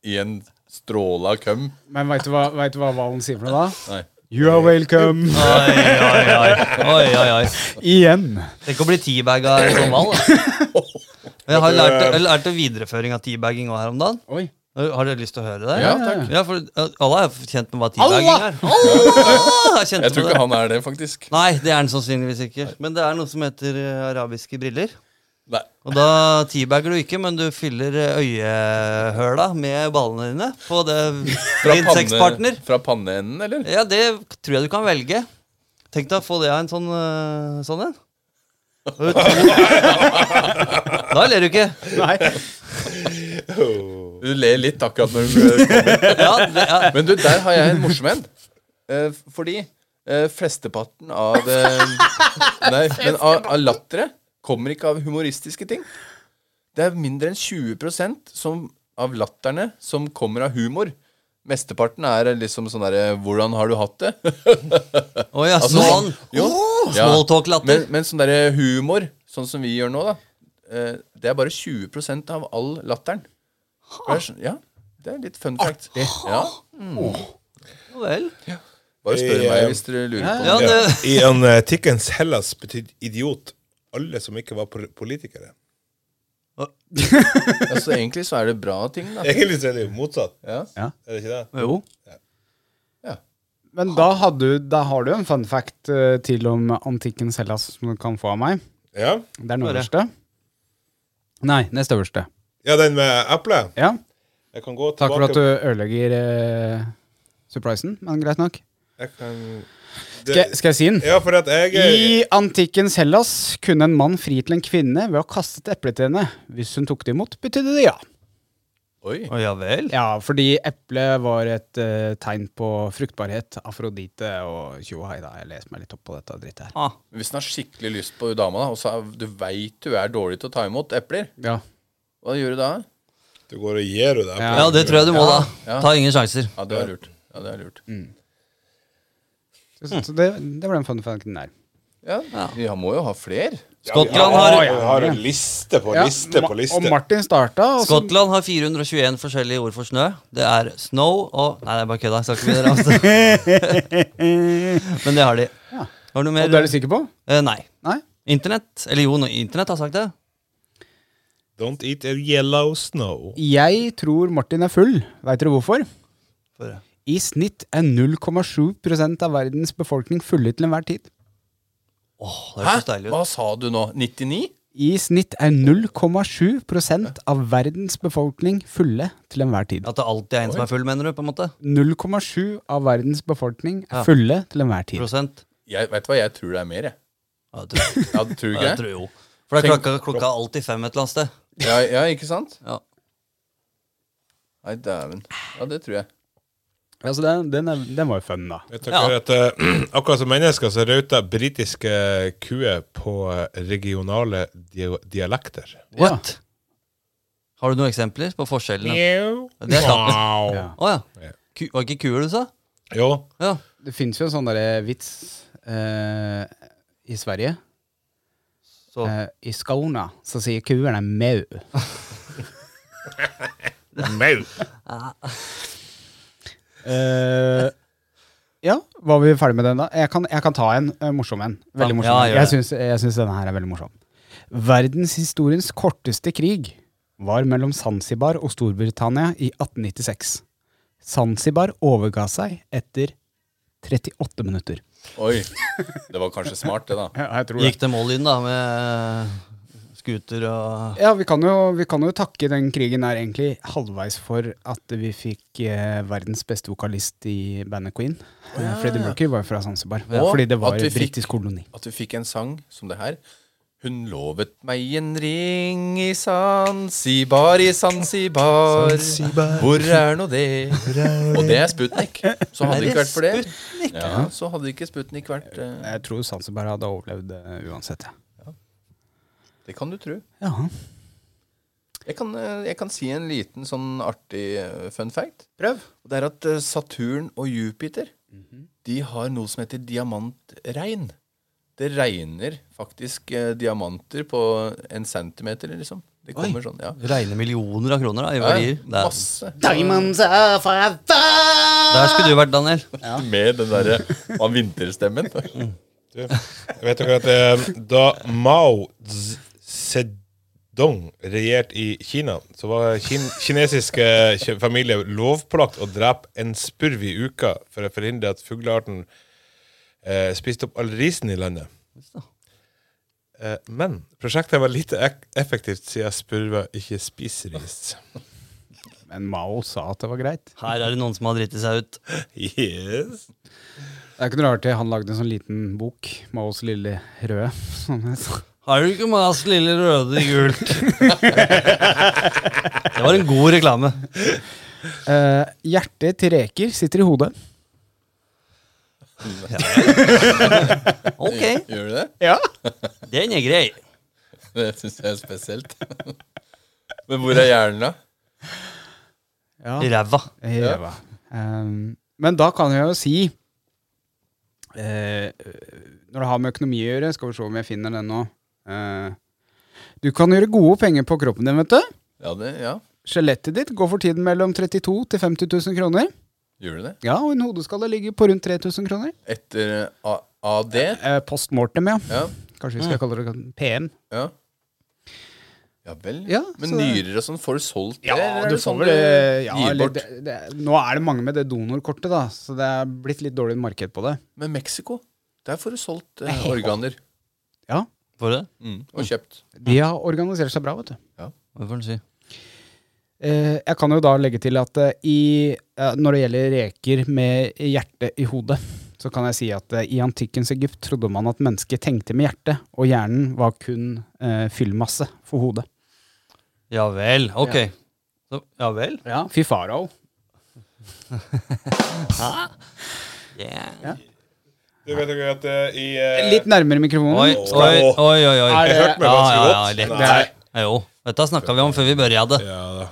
Speaker 5: I en stråle av køm.
Speaker 4: Men veit du hva vet du hva hvalen sier for noe da?
Speaker 5: Nei.
Speaker 4: You are welcome.
Speaker 6: Oi, oi, oi. oi, oi, oi.
Speaker 4: Igjen.
Speaker 6: Tenk å bli teabaga i sånn hval. da. Jeg har lært, jeg har lært en videreføring av teabagging òg her om dagen.
Speaker 4: Oi.
Speaker 6: Har dere lyst til å høre det?
Speaker 5: Ja, takk.
Speaker 6: Ja, for uh, alle er kjent med hva teabagging er. Alle er kjent
Speaker 5: Jeg tror
Speaker 6: med det.
Speaker 5: ikke han er det, faktisk.
Speaker 6: Nei, det er den sannsynligvis ikke. Men det er noe som heter eh, arabiske briller.
Speaker 5: Nei.
Speaker 6: Og da teabagger du ikke, men du fyller eh, øyehøla med ballene dine på det din sexpartner.
Speaker 5: fra panneenden, eller?
Speaker 6: Ja, det tror jeg du kan velge. Tenk deg å få det av en sånn eh, sånn en. Og to- Da ler du ikke.
Speaker 5: Du ler litt akkurat når du kommer.
Speaker 6: Ja, det, ja.
Speaker 5: Men du, der har jeg en morsom en. Eh, fordi eh, flesteparten av eh, Nei, men av, av latteret kommer ikke av humoristiske ting. Det er mindre enn 20 som, av latterne som kommer av humor. Mesteparten er liksom sånn derre 'Hvordan har du hatt det?'
Speaker 6: Å ja,
Speaker 5: Altså,
Speaker 6: sånn.
Speaker 5: jo, ja.
Speaker 6: Small talk-latter.
Speaker 5: Men, men sånn derre humor, sånn som vi gjør nå, da. eh, Det er bare 20 av all latteren. Det er sånn- Ja, det er litt fun fact. Ja.
Speaker 6: Ja vel.
Speaker 5: Bare spør
Speaker 7: Ja.
Speaker 5: meg hvis dere lurer på det.
Speaker 6: Ja, det,
Speaker 7: I en eh, Tikkens Hellas betydde idiot alle som ikke var pol- politikere.
Speaker 5: Altså, egentlig så er det bra ting, da.
Speaker 7: Egentlig så er det jo motsatt.
Speaker 5: Ja.
Speaker 7: Er det ikke det?
Speaker 4: Jo.
Speaker 5: Ja.
Speaker 4: Men da, hadde, du- da har du en fun fact eh, til om antikkens Hellas som du kan få av meg.
Speaker 7: Ja,
Speaker 4: Det er den
Speaker 6: Bare.
Speaker 4: øverste. Nei, nest øverste.
Speaker 7: ja den med eplet.
Speaker 4: Ja.
Speaker 7: Jeg kan gå
Speaker 4: Takk
Speaker 7: tilbake
Speaker 4: for at du ødelegger eh, surprisen, men greit nok.
Speaker 7: jeg kan...
Speaker 4: Skal,
Speaker 7: det...
Speaker 4: jeg- skal jeg si den?
Speaker 7: Ja, for at jeg er
Speaker 4: I antikkens Hellas kunne en mann fri til en kvinne ved å kaste et eple til henne. Hvis hun tok det imot, betydde det ja.
Speaker 5: Oi.
Speaker 6: Å, ja vel.
Speaker 4: Ja, fordi eplet var et eh, tegn på fruktbarhet, afrodite og tjo og hei da. Jeg leser meg litt opp på dette drittet her.
Speaker 6: Ah,
Speaker 5: Hvis den har skikkelig lyst på dama, da, og så er- du veit du er dårlig til å ta imot epler,
Speaker 4: Ja.
Speaker 5: hva gjør du da?
Speaker 7: Du går og gir henne det.
Speaker 4: Ja.
Speaker 6: ja, det tror jeg du må, da.
Speaker 5: Ja.
Speaker 6: Ta ingen sjanser.
Speaker 5: Ja, Mm. det er lurt. Ja, det er lurt.
Speaker 4: Så, så det, det var den fun facten der.
Speaker 5: Ja, Vi har- må jo ha fler.
Speaker 6: Skottland
Speaker 7: har,
Speaker 6: har,
Speaker 7: vi har en liste på
Speaker 4: Ja,
Speaker 7: liste
Speaker 4: Ma-
Speaker 7: på liste.
Speaker 4: Og Martin starta, og så
Speaker 6: Skottland har 421 forskjellige ord for snø. Det er snow og Nei, det er bare kødda. Jeg skal ikke begynne å ramse. Men det har de. Har du noe
Speaker 4: Og det er
Speaker 6: mer?
Speaker 4: du sikker på?
Speaker 6: Eh, nei.
Speaker 4: Nei?
Speaker 6: Internett. Eller jo, no, Internett har sagt det.
Speaker 7: Don't eat a yellow snow.
Speaker 4: Jeg tror Martin er full. Veit dere hvorfor?
Speaker 6: Få høre.
Speaker 4: I snitt er 0,7 av verdens befolkning fulle til enhver tid.
Speaker 6: Åh, det høres så deilig ut.
Speaker 5: Hva sa du nå? 99?
Speaker 4: I snitt er 0,7 av verdens befolkning fulle til enhver tid.
Speaker 6: At det alltid er en som er full, mener du? på en måte?
Speaker 4: 0,7 av verdens befolkning
Speaker 6: Ja.
Speaker 4: er fulle til enhver tid.
Speaker 6: Prosent?
Speaker 5: Jeg, vet du hva, jeg tror det er mer, jeg.
Speaker 6: Ja, det tror jeg.
Speaker 5: Ja, du tror
Speaker 6: Ja,
Speaker 5: ikke
Speaker 6: jeg
Speaker 5: det?
Speaker 6: tror jo. For det er
Speaker 5: Tenk-
Speaker 6: klokka, klokka er alltid fem et eller annet sted.
Speaker 5: Ja, ja, ikke sant?
Speaker 6: Ja.
Speaker 5: Nei, dæven. Ja, det tror jeg.
Speaker 4: Altså, den, den, er, den var jo fun, da.
Speaker 7: Jeg tenker
Speaker 6: Ja.
Speaker 7: at eh, Akkurat som mennesker så rauter britiske kuer på eh, regionale dia dialekter.
Speaker 6: What? Har du noen eksempler på forskjellene? Det er sant.
Speaker 7: Wow.
Speaker 4: Ja.
Speaker 6: Å ja. Ku, var det ikke kuer du sa?
Speaker 7: Jo.
Speaker 6: Ja.
Speaker 4: Det fins jo en sånn derre vits eh, i Sverige.
Speaker 6: Så
Speaker 4: Eh, I Skåne så sier kuene mau. Eh, ja, var vi ferdig med den da? Jeg kan, jeg kan ta en eh, morsom en.
Speaker 6: Ja,
Speaker 4: Veldig morsom.
Speaker 6: ja, gjør
Speaker 4: jeg
Speaker 6: det.
Speaker 4: syns, jeg syns denne her er veldig morsom. Verdenshistoriens korteste krig var mellom Zanzibar og Storbritannia i 1896. Zanzibar overga seg etter 38 minutter.
Speaker 5: Oi. Det var kanskje smart, det, da.
Speaker 4: Ja, jeg tror
Speaker 6: gikk det mål inn, da, med scooter og
Speaker 4: Ja, vi kan, jo, vi kan jo takke den krigen her egentlig halvveis for at vi fikk eh, verdens beste vokalist i bandet Queen. Eh, Freddie Mercury var jo fra Zanzibar.
Speaker 5: Ja.
Speaker 4: Fordi det
Speaker 5: At
Speaker 4: var
Speaker 5: vi
Speaker 4: en britisk koloni.
Speaker 5: At vi fikk en sang som det her. Hun lovet meg en ring i Zanzibar, i Zanzibar. Hvor er nå det? Og det er Sputnik. Så hadde det ikke vært for det, ja, så hadde ikke Sputnik vært eh,
Speaker 4: Jeg tror Zanzibar hadde overlevd eh, uansett. Ja.
Speaker 5: Det kan du tro.
Speaker 4: Ja.
Speaker 5: Jeg kan, eh, jeg kan si en liten sånn artig eh, fun fact.
Speaker 4: Prøv.
Speaker 5: Og det er at eh, Saturn og Jupiter De har noe som heter diamantregn. Det regner faktisk eh, diamanter på en centimeter, liksom. Det kommer sånn, ja.
Speaker 6: Regne millioner av kroner da, i
Speaker 5: Ja,
Speaker 6: verdier. Der,
Speaker 5: masse.
Speaker 4: Diamonds are forever!
Speaker 6: der skulle du vært, Daniel.
Speaker 5: Med den derre av vinterstemmen.
Speaker 7: Vet dere at eh, da Mao Z- Zedong regjerte i Kina, så var kin kinesiske ki- familier lovpålagt å drepe en spurv i uka for å forhindre at fuglearten eh, spiste opp all risen i landet. Eh, men prosjektet var lite ek effektivt siden spurver ikke spiser ris.
Speaker 4: Men Mao sa at det var greit.
Speaker 6: Her er det noen som har driti seg ut.
Speaker 7: Yes.
Speaker 4: Det er ikke noe rart det, han lagde en sånn liten bok, Maos lille røde. Sånn het.
Speaker 6: Har du ikke mas lille røde i gult? det var en god reklame.
Speaker 4: Eh, hjertet til reker sitter i hodet.
Speaker 6: Ok,
Speaker 5: Gjør du det?
Speaker 6: den er grei.
Speaker 5: Det syns jeg er spesielt. Men hvor er hjernen, da?
Speaker 4: Ja.
Speaker 6: I ræva.
Speaker 4: Eva. Ehm, men da kan jeg jo si eh, Når det har med økonomi å gjøre, skal vi se om jeg finner den nå Eh, Du kan gjøre gode penger på kroppen din, vet du.
Speaker 5: Ja, det, ja.
Speaker 4: Skjelettet ditt går for tiden mellom 32 000 til 50 000 kroner.
Speaker 5: Gjør du det?
Speaker 4: Ja, og en hodeskalle ligger på rundt 3000 kroner.
Speaker 5: Etter eh, A AD?
Speaker 4: Eh, Post mortem, ja. Mm.
Speaker 5: Ja.
Speaker 4: Kanskje vi skal kalle det PM.
Speaker 5: Ja, ja vel.
Speaker 4: Ja,
Speaker 5: Men
Speaker 4: så det-
Speaker 5: nyrer og sånn, får du solgt det?
Speaker 4: Ja,
Speaker 5: eller er
Speaker 4: du
Speaker 5: det
Speaker 4: får
Speaker 5: sånn
Speaker 4: vel eh, ja,
Speaker 5: gir
Speaker 4: eller
Speaker 5: bort?
Speaker 4: det, det, Nå er det mange med det donorkortet, da, så det er blitt litt dårlig marked på det.
Speaker 5: Med Mexico, der får du solgt eh, organer.
Speaker 4: Ja,
Speaker 6: Får du det?
Speaker 5: Mm, og kjøpt.
Speaker 4: De har organisert seg bra, vet du.
Speaker 6: Hva får den si?
Speaker 4: Eh, Jeg kan jo da legge til at eh, i, eh, når det gjelder reker med hjerte i hodet, så kan jeg si at eh, i antikkens Egypt trodde man at mennesket tenkte med hjertet, og hjernen var kun eh, fyllmasse for hodet.
Speaker 6: Ja vel. Ok. Så, ja vel?
Speaker 4: Ja. Fy farao.
Speaker 6: Yeah.
Speaker 7: Du vet dere at eh, i eh,
Speaker 4: Litt nærmere
Speaker 6: Oi,
Speaker 4: mikrofonen.
Speaker 6: oi, oi. oi, oi.
Speaker 4: Er det-
Speaker 7: Jeg hørte meg ganske godt.
Speaker 6: lett.
Speaker 7: Nei.
Speaker 6: Ja, Jo, dette snakka vi om før vi begynte.
Speaker 7: Ja da.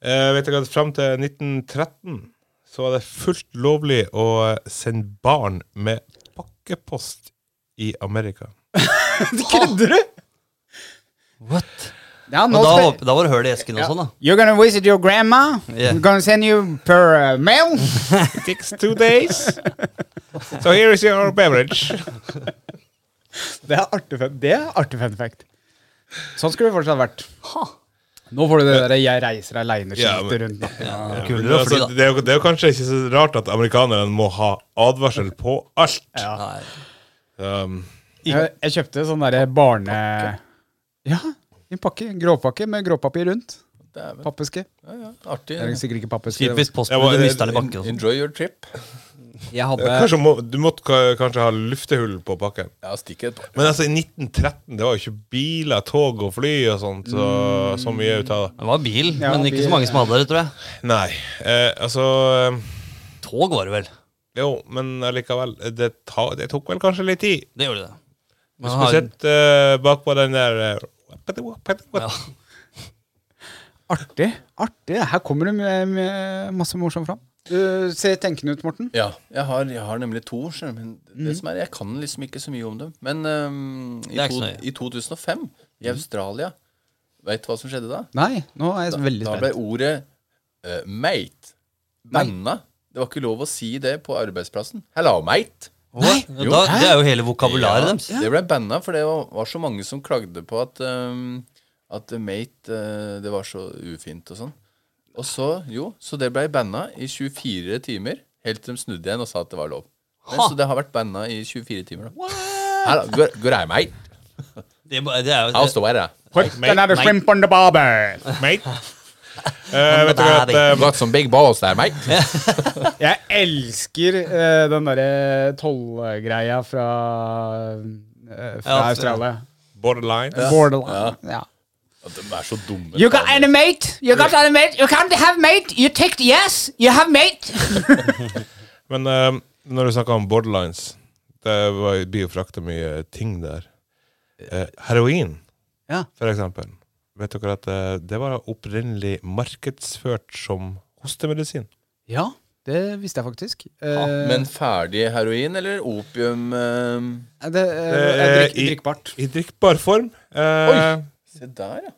Speaker 7: Eh, vet dere at fram til 1913 så var det fullt lovlig å eh, sende barn med pakkepost i Amerika.
Speaker 4: Kødder du?!
Speaker 6: What?
Speaker 4: Ja, nå
Speaker 6: Men da,
Speaker 4: skal...
Speaker 6: håp- da var det hull i esken og sånn, da.
Speaker 4: You're gonna visit your grandma.
Speaker 6: Yeah.
Speaker 4: We're gonna send you per uh, mail.
Speaker 7: Takes two days. So here is your beverage.
Speaker 4: Det er artig fun, det er artig fun fact. Sånn skulle det fortsatt vært. Nå får du det der 'jeg reiser
Speaker 7: Ja,
Speaker 4: aleine'-skiltet
Speaker 7: men-
Speaker 4: rundt natta.
Speaker 6: Ja,
Speaker 7: Men
Speaker 6: kulere å fly,
Speaker 7: altså,
Speaker 6: da.
Speaker 7: det, er jo, det er jo kanskje ikke så rart at amerikanerne må ha advarsel på alt.
Speaker 6: Nei.
Speaker 7: Um,
Speaker 4: Jeg, jeg kjøpte sånn derre barne... Ja, en pakke. En gråpakke med gråpapir rundt.
Speaker 5: Dæven.
Speaker 4: Pappeske.
Speaker 5: Ja, ja. Artig.
Speaker 4: Det er sikkert ikke pappeske.
Speaker 6: Typisk
Speaker 7: Jeg var-
Speaker 6: postbud, du mister den i bakken. og sånn.
Speaker 5: Enjoy your trip.
Speaker 4: Jeg hadde
Speaker 7: kanskje må, du måtte ka- kanskje ha luftehull på pakken.
Speaker 5: Ja, stikk et par.
Speaker 7: Men altså, i 1913 det var jo ikke biler, tog og fly og sånt så, så mye ut av det.
Speaker 6: Det var bil,
Speaker 4: Ja,
Speaker 6: men ikke
Speaker 4: bil,
Speaker 6: så mange som hadde det, tror jeg.
Speaker 7: Nei. Eh, altså eh,
Speaker 6: Tog var det vel.
Speaker 7: Jo, men allikevel. Det, ta, det tok vel kanskje litt tid.
Speaker 6: Det gjorde det. Man har-
Speaker 7: Spesielt eh, bakpå den der eh, wappity, wappity,
Speaker 6: ja.
Speaker 7: wappity.
Speaker 4: Artig. artig. Her kommer det med, med masse morsomt fram. Du ser tenkende ut, Morten.
Speaker 5: Ja, jeg har, jeg har nemlig to, skjønner du, men
Speaker 4: Mm.
Speaker 5: det som er, jeg kan liksom ikke så mye om dem. Men øhm, i,
Speaker 6: Det er ikke
Speaker 5: to,
Speaker 6: så nøye.
Speaker 5: i 2005,
Speaker 4: Mm.
Speaker 5: i Australia, veit du hva som skjedde da?
Speaker 4: Nei, nå er jeg veldig
Speaker 5: Da ble
Speaker 4: spent.
Speaker 5: ordet eh, mate banna. Det var ikke lov å si det på arbeidsplassen. Hello, mate.
Speaker 6: Nei, da, det er jo hele vokabularet
Speaker 5: Ja,
Speaker 6: deres.
Speaker 5: Det ble banna, for det var, var så mange som klagde på at, ehm, at mate eh, Det var så ufint og sånn. Og så, jo, så det ble banna i 24 timer, helt til de snudde igjen og sa at det var lov. Men, så det har vært banna i 24 timer, da. Hello, good, good day, mate.
Speaker 6: Det, er bare- det er jo
Speaker 5: How's the weather?
Speaker 4: Put another shrimp on the barber.
Speaker 7: Mate. Eh, vet dere at eh,
Speaker 5: Got some sånn big balls there, mate.
Speaker 4: Jeg elsker eh, den derre tollgreia fra, eh, fra
Speaker 6: Ja, fra-
Speaker 4: Australia.
Speaker 7: Borderline.
Speaker 4: Borderline. Ja.
Speaker 5: At de er så dumme.
Speaker 3: You got any mate? You got any mate? You can't have mate? You take yes? You have mate?
Speaker 7: Men eh, når du snakker om borderlines Det var- blir jo frakta mye ting der. Eh, heroin,
Speaker 4: Ja.
Speaker 7: for eksempel. Vet dere at eh, det var opprinnelig markedsført som hostemedisin?
Speaker 4: ja, det visste jeg faktisk. Eh,
Speaker 5: Men ferdig heroin eller opium eh,
Speaker 4: det, eh, er drikk,
Speaker 7: Eh, i-
Speaker 4: drikkbart.
Speaker 7: I drikkbar form. Eh,
Speaker 5: Oi. Se der, ja.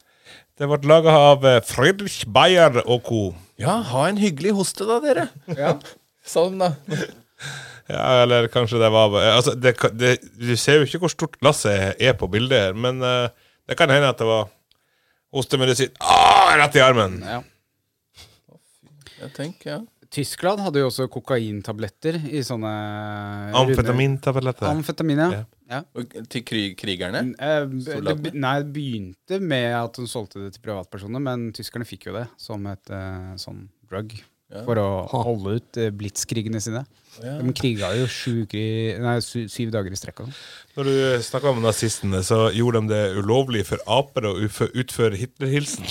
Speaker 7: det ble laga av eh, Friedrich Bayer og co.
Speaker 5: Ja, ha en hyggelig hoste, da, dere. Ja. Salm, da.
Speaker 7: Ja, eller kanskje det var eh, altså, det, kan- det, Du ser jo ikke hvor stort glasset er på bildet, her men eh, det kan hende at det var ostemedisin Åh, rett i armen!
Speaker 4: Ja.
Speaker 5: Jeg tenker, ja.
Speaker 4: Tyskland hadde jo også kokaintabletter i sånne runde-
Speaker 7: Amfetamintabletter.
Speaker 4: Amfetamin, ja.
Speaker 7: Ja.
Speaker 4: ja.
Speaker 5: Og til krig krigerne.
Speaker 4: Eh, b- det,
Speaker 5: Soldatene?
Speaker 4: be- nei, det begynte med at hun solgte det til privatpersoner, men tyskerne fikk jo det som et eh, sånn drug for å holde ut eh, blitzkrigene sine. De kriga jo sju uker i, nei, sy, syv dager i strekk. og sånn.
Speaker 7: Når du snakker om nazistene, så gjorde de det ulovlig for aper å ufø- utføre Hitler-hilsen.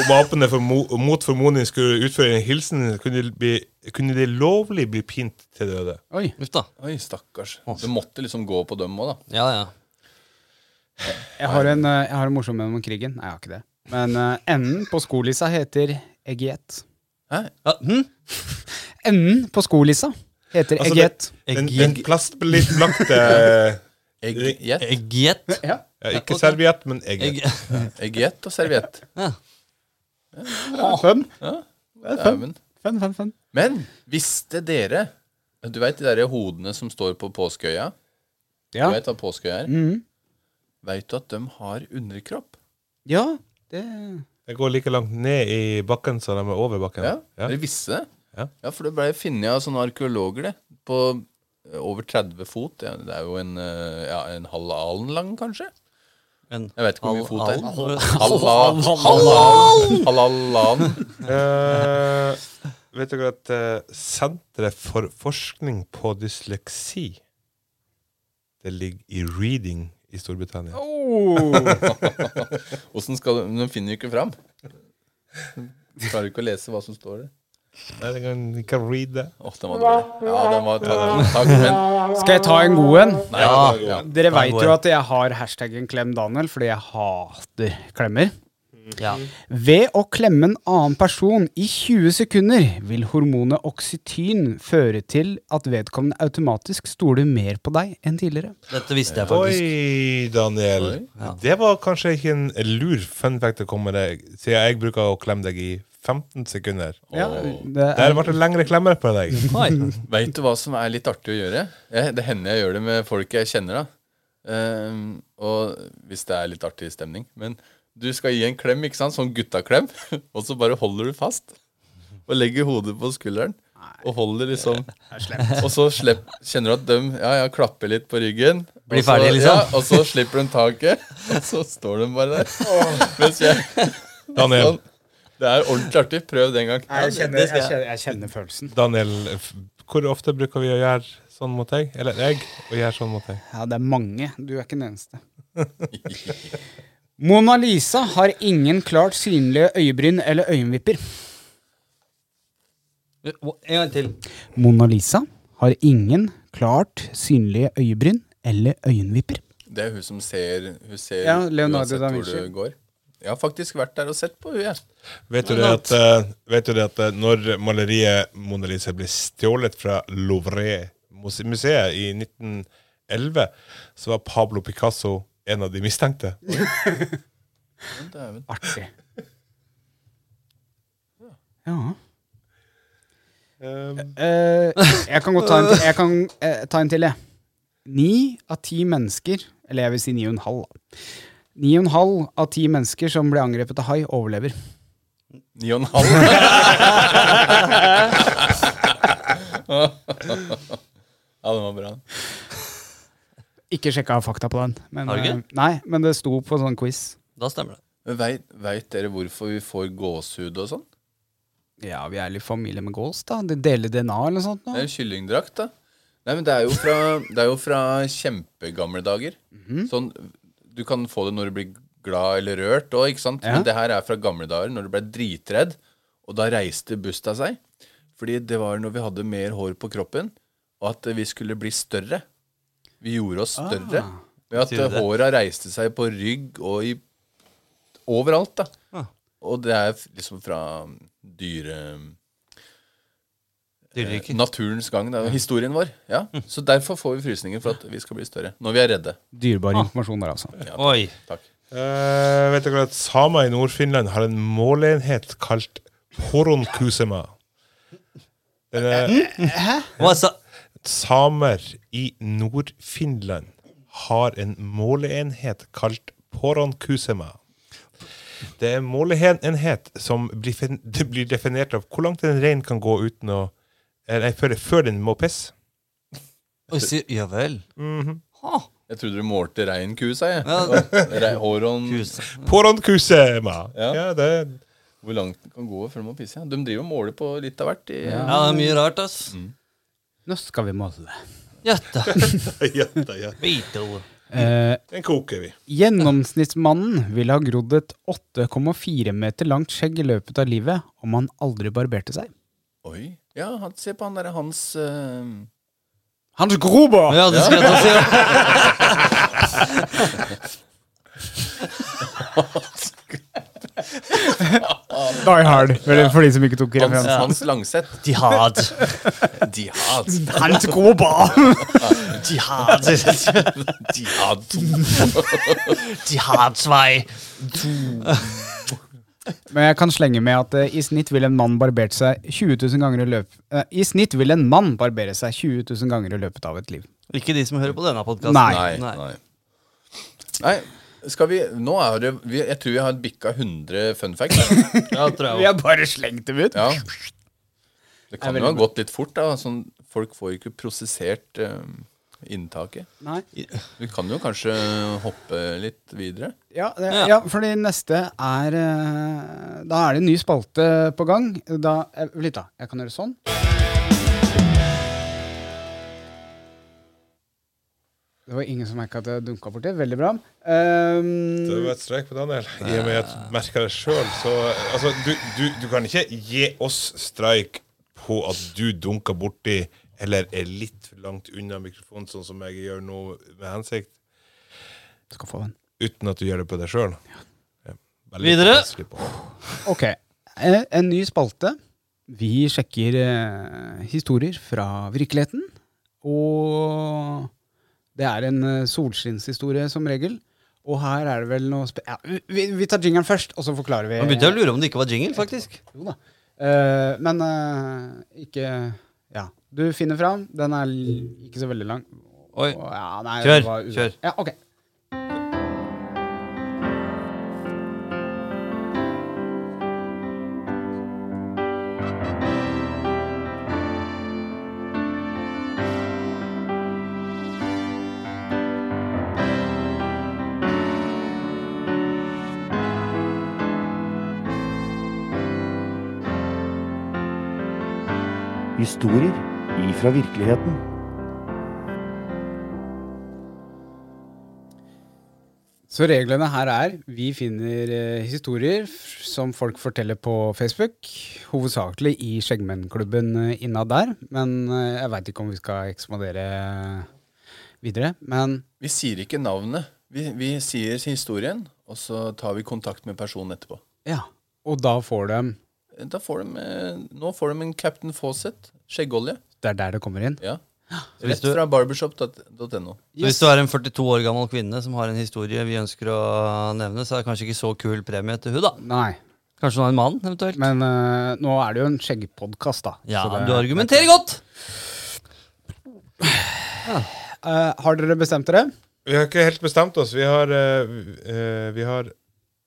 Speaker 7: Om apene for mo mot formodning skulle utføre en hilsen, kunne de, bli, kunne de lovlig bli pint til døde.
Speaker 4: Oi,
Speaker 6: Uff da.
Speaker 5: Oi, stakkars. Du måtte liksom gå på dem òg, da.
Speaker 6: Ja, ja.
Speaker 4: jeg har en, eh, jeg har en morsom en om krigen. Nei, jeg har ikke det. Men eh, enden på skolissa heter egiet.
Speaker 5: Hæ?
Speaker 6: ja hm?
Speaker 4: Enden på skolissa heter
Speaker 7: Altså,
Speaker 4: egiet.
Speaker 7: Den,
Speaker 6: Egg-
Speaker 7: den plastbelagte
Speaker 5: Eggjet
Speaker 6: Eggjet?
Speaker 4: Ja.
Speaker 7: ja, Ikke serviett, men egg.
Speaker 6: Egg...
Speaker 5: Eggjet og serviett.
Speaker 6: Ja.
Speaker 4: Fun,
Speaker 5: Dæven.
Speaker 4: fun, fun, fun.
Speaker 5: Men visste dere Du veit de derre hodene som står på påskeøya?
Speaker 4: Ja.
Speaker 5: Du veit hva påskeøya er? Mm. Veit du at de har underkropp?
Speaker 4: ja, det
Speaker 7: Det går like langt ned i bakken som de er over bakken.
Speaker 5: Ja,
Speaker 7: Ja.
Speaker 5: Dere visste det?
Speaker 7: Ja.
Speaker 5: for det blei funnet av sånne arkeologer, det. På eh, over 30 fot. Ja, det er jo en, eh, ja, en halv alen lang, kanskje?
Speaker 6: En
Speaker 5: Jeg vet ikke hvor mye fot det er.
Speaker 6: halv-
Speaker 5: Halv- halv- halv alen.
Speaker 7: Eh, vet dere at eh, Senteret for forskning på dysleksi Det ligger i Reading i Storbritannia.
Speaker 5: Åssen skal du De finner jo ikke fram. Du klarer ikke å lese hva som står der.
Speaker 7: Nei, den kan den kan read det.
Speaker 5: Åh, den var dårlig. Ja, den var ta, Takk, men
Speaker 4: Skal jeg ta en god en?
Speaker 5: Nei, ja, ja.
Speaker 4: Dere veit jo at jeg har hashtaggen Klem Daniel, fordi jeg hater klemmer.
Speaker 6: Ja.
Speaker 4: Ved å klemme en annen person i 20 sekunder vil hormonet oksytyn føre til at vedkommende automatisk stoler mer på deg enn tidligere.
Speaker 6: Dette visste jeg faktisk.
Speaker 7: Oi, Daniel. Det var kanskje ikke en lur fun fact å komme med deg, siden jeg bruker å klemme deg i 15 sekunder.
Speaker 4: Ja, det
Speaker 7: Der ble det lengre klemmer på deg.
Speaker 5: Vet du hva som er litt artig å gjøre? Jeg, det hender jeg gjør det med folk jeg kjenner, da. Ehm, og hvis det er litt artig stemning. Men du skal gi en klem, ikke sant? Sånn guttaklem. Og så bare holder du fast. Og legger hodet på skulderen. Og holder liksom Og så slipp, kjenner du at de ja, ja, klapper litt på ryggen.
Speaker 6: Blir
Speaker 5: og så-
Speaker 6: ferdig, liksom.
Speaker 5: Ja, og så slipper de taket, og så står de bare der. Mens jeg
Speaker 7: Daniel,
Speaker 5: Sånn. Det er ordentlig artig. Prøv det en gang.
Speaker 4: jeg, kjenner, jeg, kjenner, jeg kjenner følelsen.
Speaker 7: Daniel, f- hvor ofte bruker vi å gjøre sånn mot deg? Eller jeg å gjøre sånn mot deg?
Speaker 4: Ja, det er mange. Du er ikke den eneste. Mona Lisa har ingen klart synlige øyebryn eller øyenvipper.
Speaker 6: En gang til.
Speaker 4: Mona Lisa har ingen klart synlige øyebryn eller øyenvipper.
Speaker 5: Det er hun som ser, hun ser
Speaker 4: Ja, Leonardo
Speaker 5: uansett
Speaker 4: da
Speaker 5: hvor
Speaker 4: Vinci.
Speaker 5: du går. Jeg har faktisk vært der og sett på hun, jeg.
Speaker 7: Vet du, det at, eh, vet du det at eh, når maleriet Mona Lisa ble stjålet fra Louvre-museet i 1911, så var Pablo Picasso en av de mistenkte?
Speaker 5: Dæven.
Speaker 4: Artig. Ja. Eh, jeg kan godt ta en til. Jeg kan, eh, ta en til, jeg. Ni av ti mennesker, eller jeg vil si ni og en halv, da. Ni og en halv av ti mennesker som ble angrepet av hai, overlever.
Speaker 5: Ni og en halv. Ja, den var bra.
Speaker 4: Ikke sjekka fakta på den. Men,
Speaker 6: Har du ikke?
Speaker 4: eh, Nei, men det sto på sånn quiz.
Speaker 6: Da stemmer det.
Speaker 5: Men veit, veit dere hvorfor vi får gåsehud og sånn?
Speaker 4: Ja, vi er litt familie med gås, da. De deler DNA eller noe sånt.
Speaker 5: Det
Speaker 4: Nå.
Speaker 5: er jo kyllingdrakt,
Speaker 6: Mhm.
Speaker 5: da. Nei, men det er jo fra, det er jo fra kjempegamle dager. Sånn du kan få det når du blir glad eller rørt òg, ikke sant? Men det her er fra gamle dager, når du ble dritredd, og da reiste busta seg. Fordi det var når vi hadde mer hår på kroppen, og at vi skulle bli større. Vi gjorde oss større ved at
Speaker 6: Ah, Betyr det?
Speaker 5: håra reiste seg på rygg og i overalt, da.
Speaker 6: Ah.
Speaker 5: Og det er f- liksom fra dyre...
Speaker 6: Dyreriket.
Speaker 5: Naturens gang. Det er jo historien vår. Ja. Så derfor får vi frysninger for at vi skal bli større. Når vi er redde.
Speaker 4: Dyrebar informasjon der, altså.
Speaker 6: Oi.
Speaker 5: Takk.
Speaker 7: Eh, vet dere at samer i Nord-Finland har en måleenhet kalt poronkusema? Den er,
Speaker 6: Hva sa
Speaker 7: samer i Nord-Finland har en måleenhet kalt poronkusema. Det er en måleenhet som blir, fin- det blir definert av hvor langt en rein kan gå uten å eh, Nei, før, før den må pisse.
Speaker 6: Oi, si, Ja vel.
Speaker 5: Jeg trodde du målte rein ku, sa jeg.
Speaker 6: Ja.
Speaker 5: Rei- Håron
Speaker 6: Hus.
Speaker 7: Poronkusema! Ja.
Speaker 5: Ja.
Speaker 7: det
Speaker 5: Hvor langt den kan gå før den må pisse. Ja. De driver og måler på litt av hvert. I,
Speaker 6: Ja, det er mye rart, ass.
Speaker 5: Mm.
Speaker 4: Nå skal vi måle.
Speaker 6: Jøtta.
Speaker 7: ja, da, ja.
Speaker 6: Beetle.
Speaker 4: Eh,
Speaker 7: Den koker vi.
Speaker 4: gjennomsnittsmannen ville ha grodd et 8,4 meter langt skjegg i løpet av livet om han aldri barberte seg.
Speaker 5: Oi. Ja, han, se på han derre Hans eh,
Speaker 4: Hans Gruber!
Speaker 6: Ja, det skulle jeg til å si. ja.
Speaker 4: Die Hard, vel, for de som ikke tok
Speaker 5: Hans,
Speaker 4: referansen.
Speaker 5: Hans Langseth.
Speaker 6: Jihad.
Speaker 5: Jihad.
Speaker 4: Hans Gruber!
Speaker 6: Jihad.
Speaker 5: Jihad.
Speaker 6: Jihadsvei.
Speaker 4: Men jeg kan slenge med at eh, i snitt vil en mann barbert seg 20 000 ganger i løpet I snitt vil en mann barbere seg 20 000 ganger i løpet av et liv.
Speaker 6: Ikke de som hører på denne podkasten.
Speaker 4: Nei.
Speaker 5: Nei. Nei. Nei. Skal vi Nå er det vi, Jeg tror vi har bikka 100 fun facts. her.
Speaker 6: Ja,
Speaker 4: Vi
Speaker 6: tror jeg også.
Speaker 4: har bare slengt dem ut.
Speaker 5: Ja. Det kan
Speaker 4: veldig
Speaker 5: jo ha
Speaker 4: bra.
Speaker 5: gått litt fort, da. Sånn, folk får jo ikke prosessert eh, inntaket.
Speaker 4: Nei.
Speaker 5: Du kan jo kanskje hoppe litt videre.
Speaker 4: Ja, det, ja, fordi neste er eh, Da er det en ny spalte på gang. Da, eh, litt, da. Jeg kan gjøre sånn. Det var ingen som merka at jeg dunka borti. Veldig bra. Ehm,
Speaker 7: Det var et strek på Daniel. I og med at jeg merker det sjøl, så Altså, du, du, du kan ikke gi oss streik på at du dunker borti eller er litt for langt unna mikrofonen, sånn som jeg gjør nå med hensikt,
Speaker 4: skal få den.
Speaker 7: uten at du gjør det på deg sjøl.
Speaker 6: Videre.
Speaker 4: Ok. Eh, en ny spalte. Vi sjekker eh, historier fra virkeligheten. Og det er en eh, solskinnshistorie som regel. Og her er det vel noe spe... Ja, vi, vi tar jingeren først, og så forklarer vi.
Speaker 6: Nå begynte jeg å lure om det ikke var jingle, faktisk.
Speaker 4: Jo da. Eh, men eh, ikke Ja. Du finner fram. Den er l- ikke så veldig lang.
Speaker 6: Oi.
Speaker 4: Å, ja, nei,
Speaker 6: Kjør,
Speaker 4: det var u-
Speaker 6: kjør.
Speaker 4: Ja, ok.
Speaker 1: Historier ifra virkeligheten.
Speaker 4: Så reglene her er vi finner eh, historier f- som folk forteller på Facebook. Hovedsakelig i Skjeggmennklubben eh, innad der. Men eh, jeg veit ikke om vi skal ekspandere eh, videre. Men
Speaker 5: Vi sier ikke navnet. Vi, vi sier historien, og så tar vi kontakt med personen etterpå.
Speaker 4: ja. Og da får de
Speaker 5: Da får de, eh, nå får de en Captain Fawcett skjeggolje.
Speaker 4: Det er der det kommer inn.
Speaker 5: Ja.
Speaker 6: hvis
Speaker 5: Rett
Speaker 6: du-
Speaker 5: fra barbershop.no.
Speaker 6: Så hvis du er en 42 år gammel kvinne som har en historie vi ønsker å nevne, så er det kanskje ikke så kul premie til hun da.
Speaker 4: Nei.
Speaker 6: Kanskje hun er en mann, eventuelt.
Speaker 4: Men eh, nå er det jo en skjeggpodkast, da.
Speaker 6: ja,
Speaker 4: Så det-
Speaker 6: du argumenterer godt!
Speaker 4: Eh, har dere bestemt dere?
Speaker 7: Vi har ikke helt bestemt oss. Vi har eh, vi- eh, Vi har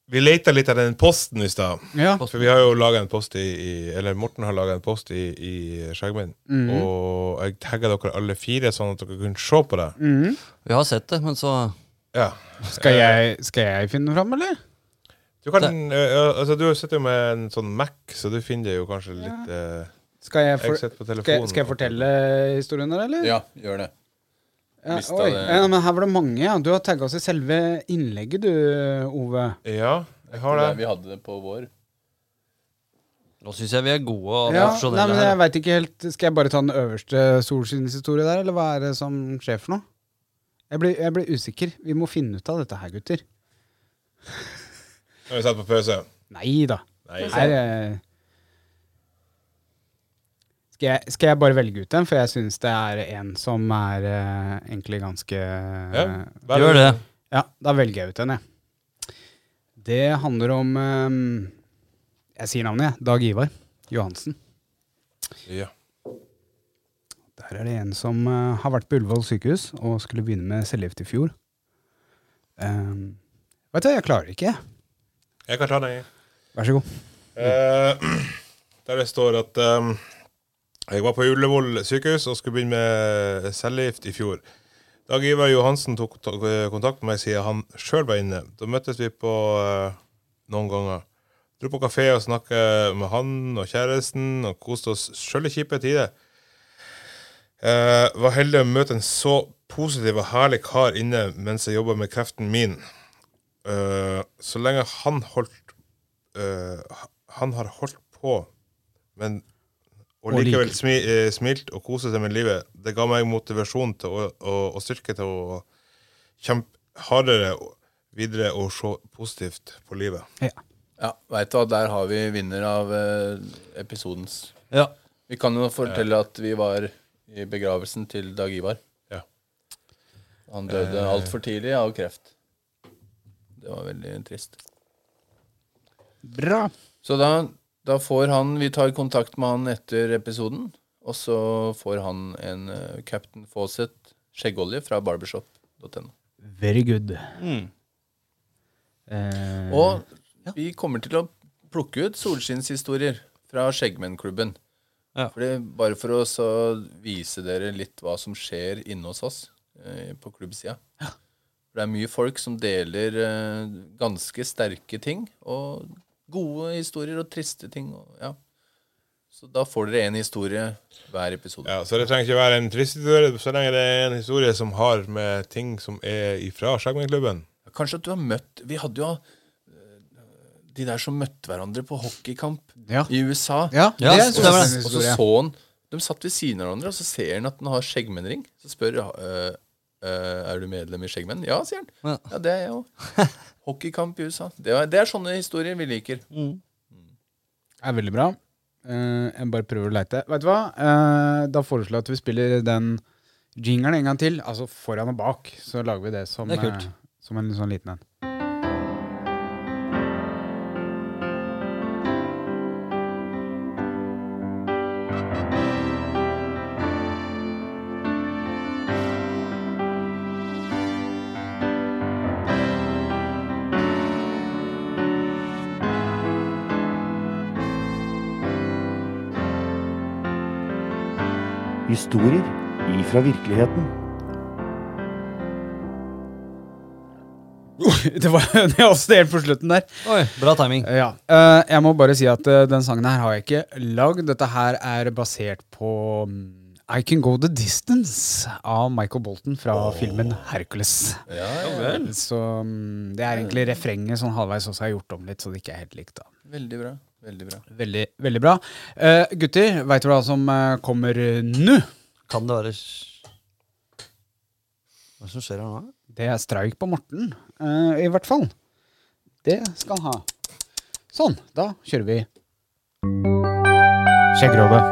Speaker 7: Vi leita litt av den posten i stad.
Speaker 4: Ja.
Speaker 7: For vi har jo laga en post i, i Eller Morten har laga en post i, i Skjeggmenn. Og jeg tagga dere alle fire, sånn at dere kunne se på det.
Speaker 6: Vi har sett det, men så
Speaker 7: Ja.
Speaker 4: Skal jeg, skal jeg finne fram, eller?
Speaker 7: Du, kan, ø, ø, altså, du sitter jo med en sånn Mac, så du finner det jo kanskje litt eh,
Speaker 4: Skal jeg,
Speaker 7: Jeg
Speaker 4: for,
Speaker 7: sitter på
Speaker 4: skal jeg,
Speaker 7: telefonen.
Speaker 4: skal jeg fortelle historien, eller?
Speaker 5: Ja, gjør det.
Speaker 4: Eh, Ja,
Speaker 5: Mista
Speaker 4: oi,
Speaker 5: det.
Speaker 4: ja, men her var det mange, ja. Du har tagga oss i selve innlegget, du, Ove.
Speaker 7: Ja, jeg har
Speaker 5: Det
Speaker 7: det.
Speaker 5: vi hadde det på vår.
Speaker 6: Nå syns jeg vi er gode og
Speaker 4: Ja, nei,
Speaker 6: profesjonelle
Speaker 4: men jeg
Speaker 6: her.
Speaker 4: vet ikke helt Skal jeg bare ta den øverste solskinnshistorie der, eller hva er det som skjer for noe? Jeg blir, jeg blir usikker. Vi må finne ut av dette her, gutter.
Speaker 7: Nå har vi satt på pause.
Speaker 4: Nei da.
Speaker 7: Nei.
Speaker 4: Her, eh, skal, jeg, skal jeg bare velge ut en, for jeg syns det er en som er eh, egentlig ganske
Speaker 7: Ja, vær-
Speaker 6: Gjør det.
Speaker 4: Ja, da velger jeg ut en, jeg. Det handler om eh, Jeg sier navnet, jeg. Dag Ivar Johansen.
Speaker 7: Ja.
Speaker 4: Der er det en som eh, har vært på Ullevål sykehus og skulle begynne med cellegift i fjor. Eh, vet du, jeg klarer det ikke. jeg.
Speaker 7: Jeg kan ta den, jeg.
Speaker 4: Vær så god.
Speaker 7: Eh, der det står at eh, jeg var på Ullevål sykehus og skulle begynne med cellegift i fjor. Dag Ivar Johansen tok ta- kontakt med meg siden han sjøl var inne. Da møttes vi på eh, noen ganger. Dro på kafé og snakket med han og kjæresten og koste oss sjøl i kjipe tider. Eh, var heldig å møte en så positiv og herlig kar inne mens jeg jobba med kreften min. Eh, så lenge han holdt eh, ha- Han har holdt på, men og
Speaker 4: Og
Speaker 7: likevel
Speaker 4: likevel.
Speaker 7: smi, eh, smilt og koset seg med livet. Det ga meg motivasjon til å, og- og styrke til å kjempe hardere og- videre og se positivt på livet.
Speaker 5: Ja, veit du hva, der har vi vinner av eh, episodens
Speaker 6: Ja.
Speaker 5: Vi kan jo fortelle at vi var i begravelsen til Dag Ivar.
Speaker 7: Ja.
Speaker 5: Han døde altfor tidlig av kreft. Det var veldig trist.
Speaker 4: Bra.
Speaker 5: Så da, da får han Vi tar kontakt med han etter episoden, og så får han en eh, Captain Fawcett skjeggolje fra barbershop.no.
Speaker 4: Very good. Mm. Eh,
Speaker 5: Og vi kommer til å plukke ut solskinnshistorier fra Skjeggmennklubben.
Speaker 6: Ja.
Speaker 5: Fordi- Bare for å så vise dere litt hva som skjer inne hos oss eh, på klubbsida. For det er mye folk som deler eh, ganske sterke ting, og gode historier og triste ting. Og, ja. Så da får dere én historie hver episode.
Speaker 7: Ja, så det trenger ikke være en trist historie, så lenge det er en historie som har med ting som er ifra Skjeggmennklubben.
Speaker 5: Kanskje at du har møtt Vi hadde jo eh, de der som møtte hverandre på hockeykamp
Speaker 4: Ja.
Speaker 5: i USA.
Speaker 4: Ja,
Speaker 6: Ja,
Speaker 4: det er
Speaker 6: stemmer det.
Speaker 4: en
Speaker 5: Og så
Speaker 4: historie.
Speaker 5: så han De satt ved siden av hverandre, og så ser han at han har skjeggmennring. Så spør øh, øh, Er du medlem i Skjeggmenn. Ja, sier han.
Speaker 6: Ja.
Speaker 5: Ja, det er jeg òg. Hockeykamp i USA. Det er, det er sånne historier vi liker.
Speaker 4: er veldig bra. Eh, jeg bare prøver å leite. Vet du hva? Eh, da foreslår jeg at vi spiller den jingeren en gang til. Altså foran og bak. Så lager vi det som,
Speaker 6: Det er kult.
Speaker 4: eh, som en sånn liten en.
Speaker 1: Historier ifra virkeligheten.
Speaker 4: det var det også helt på slutten der.
Speaker 6: Oi, bra timing.
Speaker 4: Ja. Eh, jeg må bare si at eh, den sangen her har jeg ikke lagd. Dette her er basert på mm, I Can Go The Distance av Michael Bolton fra filmen Hercules. Så mm, det er egentlig refrenget sånn halvveis også har jeg gjort om litt, så det ikke er helt likt. da
Speaker 5: Veldig bra. Veldig bra.
Speaker 4: Veldig, veldig bra. Eh, gutter, veit du hva som eh, kommer eh, nå?
Speaker 6: Kan det være sj- Hva er det som skjer her nå?
Speaker 4: Det er streik på Morten, eh, i hvert fall. Det skal han ha. Sånn, da kjører vi. Skjeggerådet.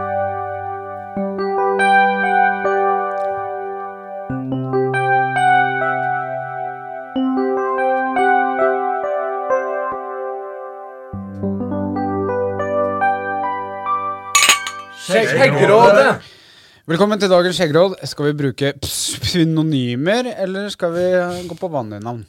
Speaker 4: Skjeggerådet! Velkommen til dagens skjeggråd. Skal vi bruke synonymer, eller skal vi eh, gå på vanlige navn?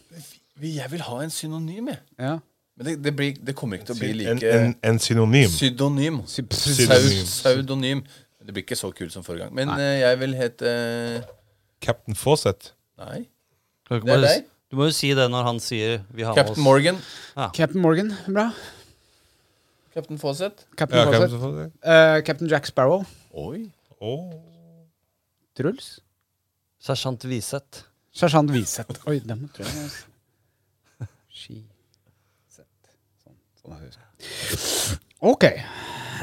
Speaker 5: Vi, jeg vil ha en synonym, jeg.
Speaker 4: Ja.
Speaker 5: Men det, det, blir, det kommer ikke til å bli
Speaker 7: En,
Speaker 5: like
Speaker 7: en, en synonym.
Speaker 5: Pseudonym.
Speaker 4: Sy- sy-
Speaker 7: Syd-
Speaker 5: Sau-
Speaker 7: Pseudonym.
Speaker 5: Pseudonym. Det blir ikke så kult som forrige gang. Men eh, jeg vil hete
Speaker 7: Captain Fawcett.
Speaker 5: Nei.
Speaker 6: Kan du ikke
Speaker 5: Det er
Speaker 6: bare s-
Speaker 5: deg.
Speaker 6: Du må jo si det når han sier vi har med
Speaker 5: Captain
Speaker 6: oss
Speaker 5: Morgan.
Speaker 4: Captain Morgan, bra.
Speaker 5: Captain Fawcett.
Speaker 4: Captain,
Speaker 7: Ja,
Speaker 4: Fawcett.
Speaker 7: Captain Fawcett.
Speaker 4: Eh, Captain Jack Sparrow.
Speaker 5: Oi.
Speaker 7: Åh.
Speaker 4: Truls?
Speaker 6: Sersjant Wiseth.
Speaker 4: Sersjant Wiseth. Oi, den tror jeg Ski Sett. Sånn. sånn er det. Ok.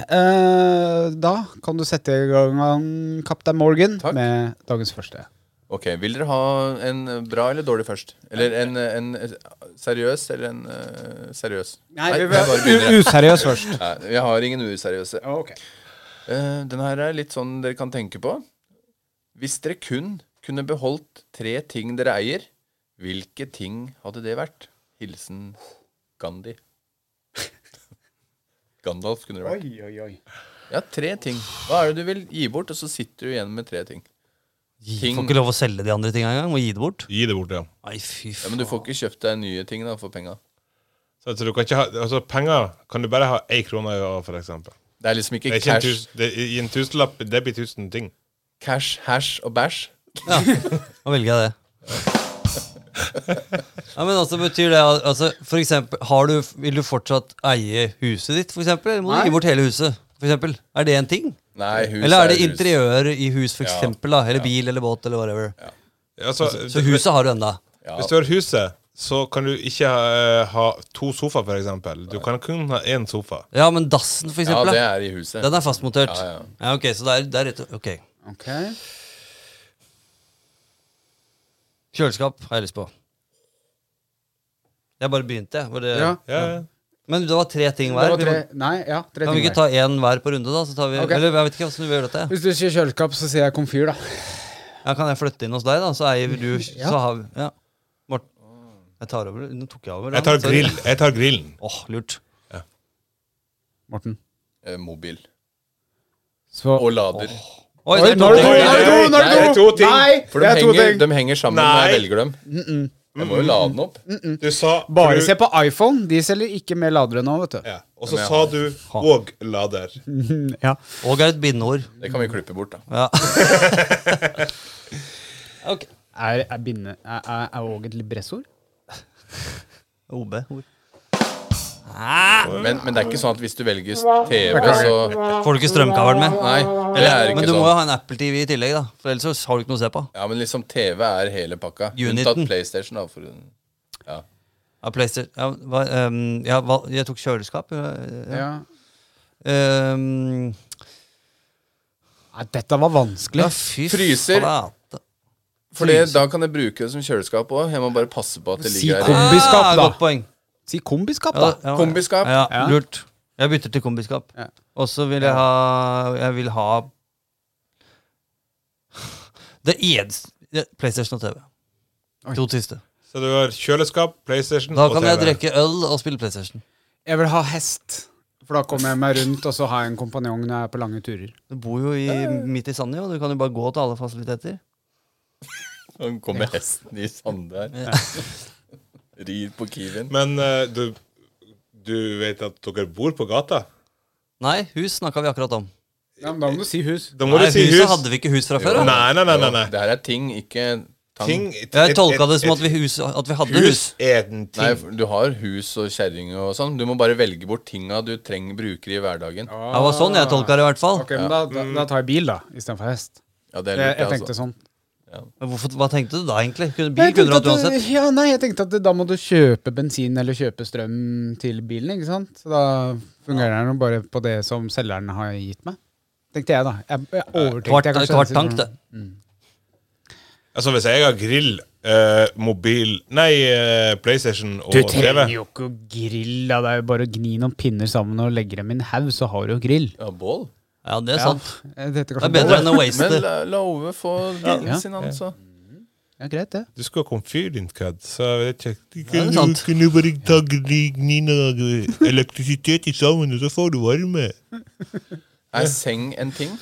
Speaker 4: Eh, da kan du sette i gang Kaptein Morgan
Speaker 5: Takk.
Speaker 4: med dagens første.
Speaker 5: Ok, Vil dere ha en eh, bra eller dårlig først? Eller en, eh, en eh, seriøs eller en eh, seriøs? jeg bare begynner.
Speaker 4: useriøs først.
Speaker 5: Nei, jeg har ingen useriøse.
Speaker 4: Ok.
Speaker 5: Eh, den her er litt sånn dere kan tenke på. Hvis dere kun kunne beholdt tre ting dere eier, hvilke ting hadde det vært? Hilsen Gandhi. Gandalf kunne det vært.
Speaker 4: Oi, oi, oi.
Speaker 5: Ja, tre ting. Hva er det du vil gi bort, og så sitter du igjen med tre ting.
Speaker 6: Gi-
Speaker 5: Ting-
Speaker 6: Får ikke lov å selge de andre tinga engang. Må gi det bort.
Speaker 7: Gi det bort, ja.
Speaker 6: Nei, fy
Speaker 5: Ja,
Speaker 6: faen.
Speaker 5: Men du får ikke kjøpt deg nye ting da, for penga.
Speaker 7: Så, så du kan ikke ha, altså Penger kan du bare ha én krone av, for eksempel.
Speaker 5: Det er liksom ikke,
Speaker 7: Det er ikke en
Speaker 5: cash,
Speaker 7: tus, det, I en tusenlapp det blir tusen ting.
Speaker 5: cash, hash og bæsj.
Speaker 6: Da velger jeg det. Ja, men altså betyr det al- altså, For eksempel, har du, vil du fortsatt eie huset ditt, for eksempel? Eller må du gi bort hele huset? For eksempel? Er det en ting?
Speaker 5: Nei, hus
Speaker 6: Eller er det
Speaker 5: hus.
Speaker 6: interiør i hus, for
Speaker 5: Ja.
Speaker 6: eksempel? da? Eller bil eller båt eller whatever.
Speaker 7: Altså,
Speaker 6: Så huset har du enda.
Speaker 5: Ja.
Speaker 7: Hvis du har huset, så kan du ikke ha, eh, ha to sofaer, for eksempel. Du kan kun ha én sofa.
Speaker 6: Ja, men dassen, for
Speaker 5: Ja,
Speaker 6: eksempel.
Speaker 5: det
Speaker 6: da.
Speaker 5: er i huset.
Speaker 6: Den er fastmontert.
Speaker 5: Ja, ja.
Speaker 6: ok, så det er, det er rett og Ok. Kjøleskap har jeg lyst på. Jeg bare begynte, jeg. Bare...
Speaker 4: Ja.
Speaker 7: Ja,
Speaker 6: Men det var tre ting
Speaker 4: Det
Speaker 6: hver.
Speaker 4: var
Speaker 6: Vi
Speaker 4: tre,
Speaker 6: må-
Speaker 4: nei, ja, tre
Speaker 6: Kan vi
Speaker 4: ting
Speaker 6: ikke
Speaker 4: hver.
Speaker 6: ta én hver på runde, da? Så tar vi,
Speaker 4: Ok.
Speaker 6: Eller jeg vet ikke hvordan du gjør dette.
Speaker 4: Hvis du sier kjøleskap, så sier jeg komfyr, da.
Speaker 6: Ja, kan jeg flytte inn hos deg, da? Så eier du
Speaker 4: Ja.
Speaker 6: Så har vi Ja. Morten. Jeg tar over. Nå tok jeg over. da.
Speaker 7: Jeg tar,
Speaker 6: Sorry.
Speaker 7: grill, jeg tar grillen.
Speaker 6: Åh, lurt.
Speaker 4: Morten.
Speaker 5: Eh, mobil.
Speaker 4: Så
Speaker 5: Og lader.
Speaker 6: Oi,
Speaker 4: Oi,
Speaker 6: det er
Speaker 4: nå er det
Speaker 6: to
Speaker 4: to!
Speaker 6: ting.
Speaker 4: Nå er det to! Nå er det
Speaker 7: Nei, det
Speaker 4: to!
Speaker 7: er to ting.
Speaker 4: Nei,
Speaker 5: For
Speaker 4: det
Speaker 5: de
Speaker 4: er to
Speaker 5: henger,
Speaker 4: ting.
Speaker 5: de henger sammen når jeg
Speaker 7: Nei.
Speaker 5: velger dem. Jeg må jo lade den opp.
Speaker 7: Du sa
Speaker 4: Bare
Speaker 7: for du-
Speaker 4: se på iPhone. De selger ikke mer ladere nå, vet du.
Speaker 7: ja. Og så sa du og lader.
Speaker 4: Ja.
Speaker 6: Og er et bindeord.
Speaker 5: Det kan vi klippe bort, da.
Speaker 6: Ja. ok.
Speaker 4: Er, er, binde, er, er, er og et libressord?
Speaker 6: OB-ord.
Speaker 5: Men, men det er ikke sånn at hvis du velger TV, så
Speaker 6: Får du ikke strømkabelen med?
Speaker 5: Nei, det er
Speaker 6: Men
Speaker 5: ikke
Speaker 6: du må jo
Speaker 5: sånn.
Speaker 6: ha en Apple TV i tillegg, da. For ellers så har du ikke noe å se på.
Speaker 5: Ja, men liksom TV er hele pakka.
Speaker 6: Uniten.
Speaker 5: Unntatt PlayStation, da. For, ja.
Speaker 6: Ja, PlayStation. Ja, hva, ehm, ja, hva, jeg tok kjøleskap. Ja. ja.
Speaker 4: Ja.
Speaker 6: Ehm,
Speaker 4: Nei, dette var vanskelig.
Speaker 6: ja, fy
Speaker 5: Fryser.
Speaker 6: flate.
Speaker 5: for det, da kan jeg bruke det som kjøleskap òg. Jeg må bare passe på at det
Speaker 4: Si
Speaker 5: ligger her.
Speaker 4: kombiskap,
Speaker 6: Ah,
Speaker 4: da.
Speaker 6: Godt poeng.
Speaker 4: Si kombiskap,
Speaker 6: Ja,
Speaker 4: da.
Speaker 6: ja.
Speaker 5: Kombiskap.
Speaker 6: Ja,
Speaker 4: Ja.
Speaker 6: Lurt. Jeg bytter til kombiskap.
Speaker 4: Ja.
Speaker 6: Og så vil jeg ha Jeg vil ha Det eneste ja, PlayStation og TV. To siste.
Speaker 7: Så du har kjøleskap, PlayStation
Speaker 6: Da
Speaker 7: og
Speaker 6: kan
Speaker 7: TV.
Speaker 6: jeg drikke øl og spille PlayStation.
Speaker 4: Jeg vil ha hest. For da kommer jeg meg rundt, og så har jeg en kompanjong når jeg er på lange turer.
Speaker 6: Du bor jo i, midt i Sandøy, og du kan jo bare gå til alle fasiliteter.
Speaker 5: Han kommer hesten i sande her. Rir på Kiwien.
Speaker 7: Men eh, du, du vet at dere bor på gata?
Speaker 6: Nei, hus snakka vi akkurat om.
Speaker 4: Ja, men da må du si hus.
Speaker 7: Da må
Speaker 6: Nei,
Speaker 7: du si
Speaker 6: huset
Speaker 7: hus.
Speaker 6: hadde vi ikke hus fra før.
Speaker 7: Nei,
Speaker 6: da.
Speaker 7: nei, nei. nei, nei.
Speaker 5: Det her er ting, ikke tang.
Speaker 7: Ting,
Speaker 6: Jeg tolka det som at vi, hus, at vi hadde hus.
Speaker 7: Hus er en ting.
Speaker 5: Nei, for du har hus og kjerring og sånn. Du må bare velge bort tinga du trenger bruker i hverdagen.
Speaker 6: Det var sånn jeg tolka det i hvert fall.
Speaker 4: Ok, men da, da, da tar jeg bil, da, istedenfor hest.
Speaker 5: Ja, det er
Speaker 4: Jeg,
Speaker 5: lurt,
Speaker 4: jeg
Speaker 5: det,
Speaker 4: tenkte
Speaker 5: altså.
Speaker 4: sånn.
Speaker 6: Men hvorfor, hva tenkte du da, egentlig? Kunne, bil
Speaker 4: Jeg
Speaker 6: kunne du
Speaker 4: tenkte
Speaker 6: hatt
Speaker 4: at,
Speaker 6: uansett.
Speaker 4: ja, nei, jeg tenkte at da må du kjøpe bensin eller kjøpe strøm til bilen, ikke sant? Så da fungerer den jo bare på det som selgeren har gitt meg. Tenkte jeg, da. Jeg, jeg overtenkte
Speaker 6: Kvart,
Speaker 4: jeg kanskje.
Speaker 6: kvart tank, det.
Speaker 7: Altså, hvis jeg har grill, eh, mobil Nei, eh, PlayStation og
Speaker 4: Du
Speaker 7: TV
Speaker 4: trenger jo ikke å grille, da. Det er jo bare å gni noen pinner sammen og legge dem i en haug, så har du jo grill.
Speaker 5: Ja, bål.
Speaker 6: Ja, det er sant.
Speaker 4: eh, Det
Speaker 6: Det er bedre enn å waste
Speaker 5: Men
Speaker 6: det.
Speaker 5: la, la Ove få grillen
Speaker 4: Ja.
Speaker 5: sin, altså.
Speaker 4: Ja, greit, det.
Speaker 7: Du skulle ha komfyr, din kødd. Så jeg vet ikke Du
Speaker 6: er
Speaker 7: kan jo
Speaker 6: sant.
Speaker 7: kan jo bare ta gni- gnina elektrisitet i sammen, og så får du varme.
Speaker 5: Er seng en ting?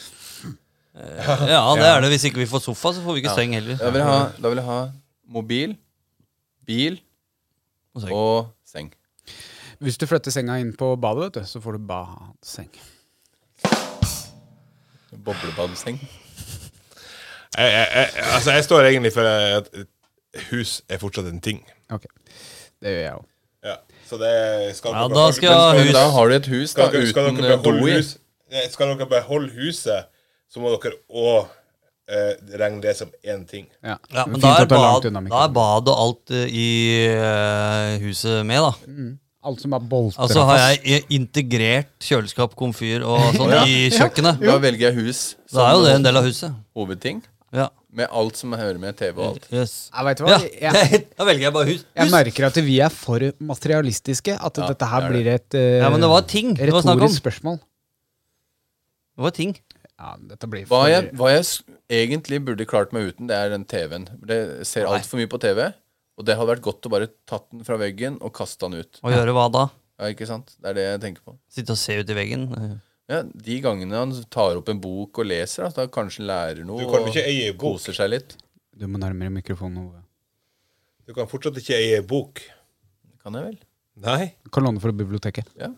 Speaker 6: Ja, det er det. Hvis ikke vi får sofa, så får vi ikke seng heller.
Speaker 5: Da vil jeg ha, da vil jeg ha mobil, bil
Speaker 6: Og seng.
Speaker 5: og seng.
Speaker 4: Hvis du flytter senga inn på badet, vet du, så får du badseng.
Speaker 5: Boblebadseng.
Speaker 7: Jeg, jeg, jeg, altså, jeg står egentlig for at hus er fortsatt en ting.
Speaker 4: Ok. Det gjør jeg òg.
Speaker 7: Ja, så det skal
Speaker 6: Ja,
Speaker 7: dere
Speaker 6: da
Speaker 7: beholde-
Speaker 6: skal jeg ha
Speaker 7: men
Speaker 5: Men da har du et hus da,
Speaker 6: eh,
Speaker 7: skal, dere- skal
Speaker 5: uten do
Speaker 7: dere
Speaker 5: i.
Speaker 7: beholde hus, Nei, skal dere beholde huset, så må dere òg eh, regn det som én ting.
Speaker 4: Ja.
Speaker 6: Ja, men
Speaker 4: Fint
Speaker 6: da er,
Speaker 4: at du er langt
Speaker 6: bad,
Speaker 4: unna
Speaker 6: da er
Speaker 4: mikrofonen.
Speaker 6: bad og alt eh, i eh, huset med, da.
Speaker 4: Alt som Mm. er bolter
Speaker 6: Altså har jeg i- integrert kjøleskap, komfyr og sånn i kjøkkenet.
Speaker 5: Da velger jeg hus
Speaker 6: Da er jo det en del av huset.
Speaker 5: hovedting.
Speaker 6: Ja.
Speaker 5: Med alt som hører med TV og alt.
Speaker 6: Yes.
Speaker 4: jeg vet du hva?
Speaker 6: Ja,
Speaker 4: Jeg,
Speaker 6: da velger jeg bare hus.
Speaker 4: jeg
Speaker 6: hus.
Speaker 4: merker at vi er for materialistiske. At dette her blir et eh,
Speaker 6: Ja, men det var ting det var snakk om.
Speaker 4: retorisk spørsmål.
Speaker 6: Det var ting.
Speaker 4: Ja, men dette blir
Speaker 5: Hva
Speaker 4: for
Speaker 5: jeg, hva jeg s- egentlig burde klart meg uten, det er den TV-en. Det ser altfor mye på TV, og det hadde vært godt å bare tatt den fra veggen og kaste den ut.
Speaker 6: Å gjøre hva da?
Speaker 5: Ja, ikke sant? Det er det jeg tenker på.
Speaker 6: Sitte og se ut i veggen?
Speaker 5: Ja, De gangene han tar opp en bok og leser, da, da kanskje han lærer noe
Speaker 7: Du kan
Speaker 5: og
Speaker 7: ikke eie bok.
Speaker 5: koser seg litt.
Speaker 4: Du må nærmere mikrofonen. Ove.
Speaker 7: Du kan fortsatt ikke eie bok.
Speaker 5: Kan jeg vel?
Speaker 7: Nei.
Speaker 4: Du Kan låne fra biblioteket.
Speaker 7: Ja.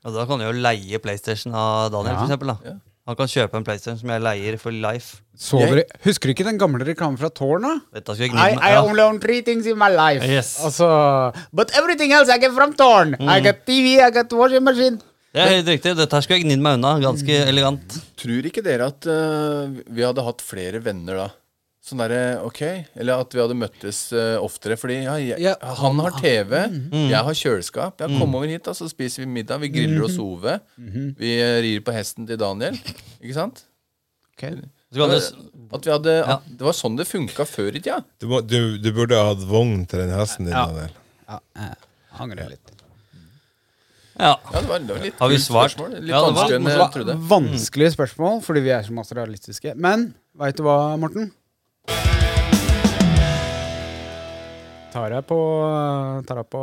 Speaker 6: Ja, da kan du jo leie PlayStation av Daniel,
Speaker 4: Ja.
Speaker 6: for eksempel. Da. Han kan kjøpe en PlayStation som jeg leier for life.
Speaker 4: Så dere, husker du ikke den gamle reklamen fra Tårn, da?
Speaker 6: Dette skulle jeg
Speaker 4: I,
Speaker 6: gni
Speaker 4: I
Speaker 6: meg.
Speaker 4: only own three things in my life.
Speaker 6: Mm, Yes.
Speaker 4: Altså, but everything else I get from Tårn. I got TV, I got washing machine.
Speaker 6: Ja. Det er helt riktig. Dette her skulle jeg gnidd meg unna. Ganske
Speaker 4: Mm.
Speaker 6: elegant.
Speaker 5: Tror ikke dere at eh, vi hadde hatt flere venner da? Sånn derre OK? Eller at vi hadde møttes eh, oftere? Fordi ja, jeg,
Speaker 4: Ja,
Speaker 5: han har TV,
Speaker 6: Mm.
Speaker 5: jeg har kjøleskap. Ja, kom over hit, da, så spiser vi middag. Vi griller
Speaker 6: Mm.
Speaker 5: og sover. Vi eh, rir på hesten til Daniel. Ikke sant?
Speaker 6: Så
Speaker 4: Eh,
Speaker 6: kan du s-
Speaker 5: At vi hadde at Det var sånn det funka før i tida.
Speaker 7: Du, må, du, du burde ha hatt vogn til den hesten din, Daniel.
Speaker 4: Angrer litt.
Speaker 6: Ja.
Speaker 5: Ja, det var, det var litt
Speaker 6: Har vi
Speaker 5: kult
Speaker 6: svart?
Speaker 5: spørsmål. Litt
Speaker 6: Ja, det var
Speaker 5: vanskeligere enn jeg trodde.
Speaker 4: Vanskelige spørsmål, fordi vi er så materialistiske. Men veit du hva, Morten? Tar jeg på, tar jeg på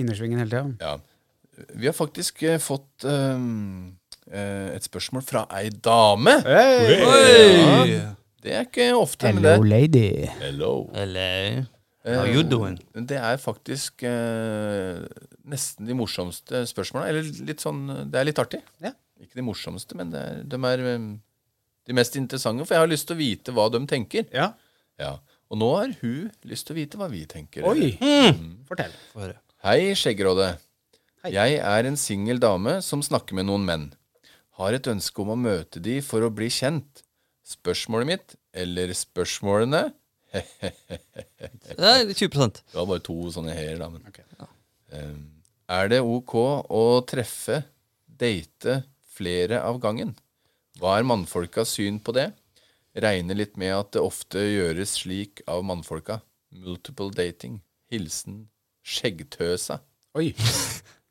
Speaker 4: innersvingen hele tida.
Speaker 5: Ja. Vi har faktisk eh, fått ehm, eh, et spørsmål fra ei dame. Ja, det er ikke ofte, men det
Speaker 4: Hello, lady.
Speaker 5: Hello.
Speaker 6: Eller How
Speaker 4: Eh.
Speaker 6: you doing?
Speaker 5: Det er faktisk eh, nesten de morsomste spørsmåla. Eller litt sånn Det er litt artig.
Speaker 4: Ja.
Speaker 5: Ikke de morsomste, men det er, de er eh, de mest interessante. For jeg har lyst til å vite hva de tenker.
Speaker 4: Ja.
Speaker 5: Ja. Og nå har hun lyst til å vite hva vi tenker. Mm.
Speaker 4: Oi. Mm. Fortell.
Speaker 5: Hei, Skjeggeråde. Jeg er en singel dame som snakker med noen menn. Har et ønske om å møte de for å bli kjent. Spørsmålet mitt, eller spørsmålene
Speaker 6: Det er 20
Speaker 5: Det var bare to sånne her, da. Men. Ehm, er det ok å treffe, date, flere av gangen? Hva er mannfolkas syn på det? Regner litt med at det ofte gjøres slik av mannfolka. Multiple dating. Hilsen Skjeggtøsa.
Speaker 4: Oi.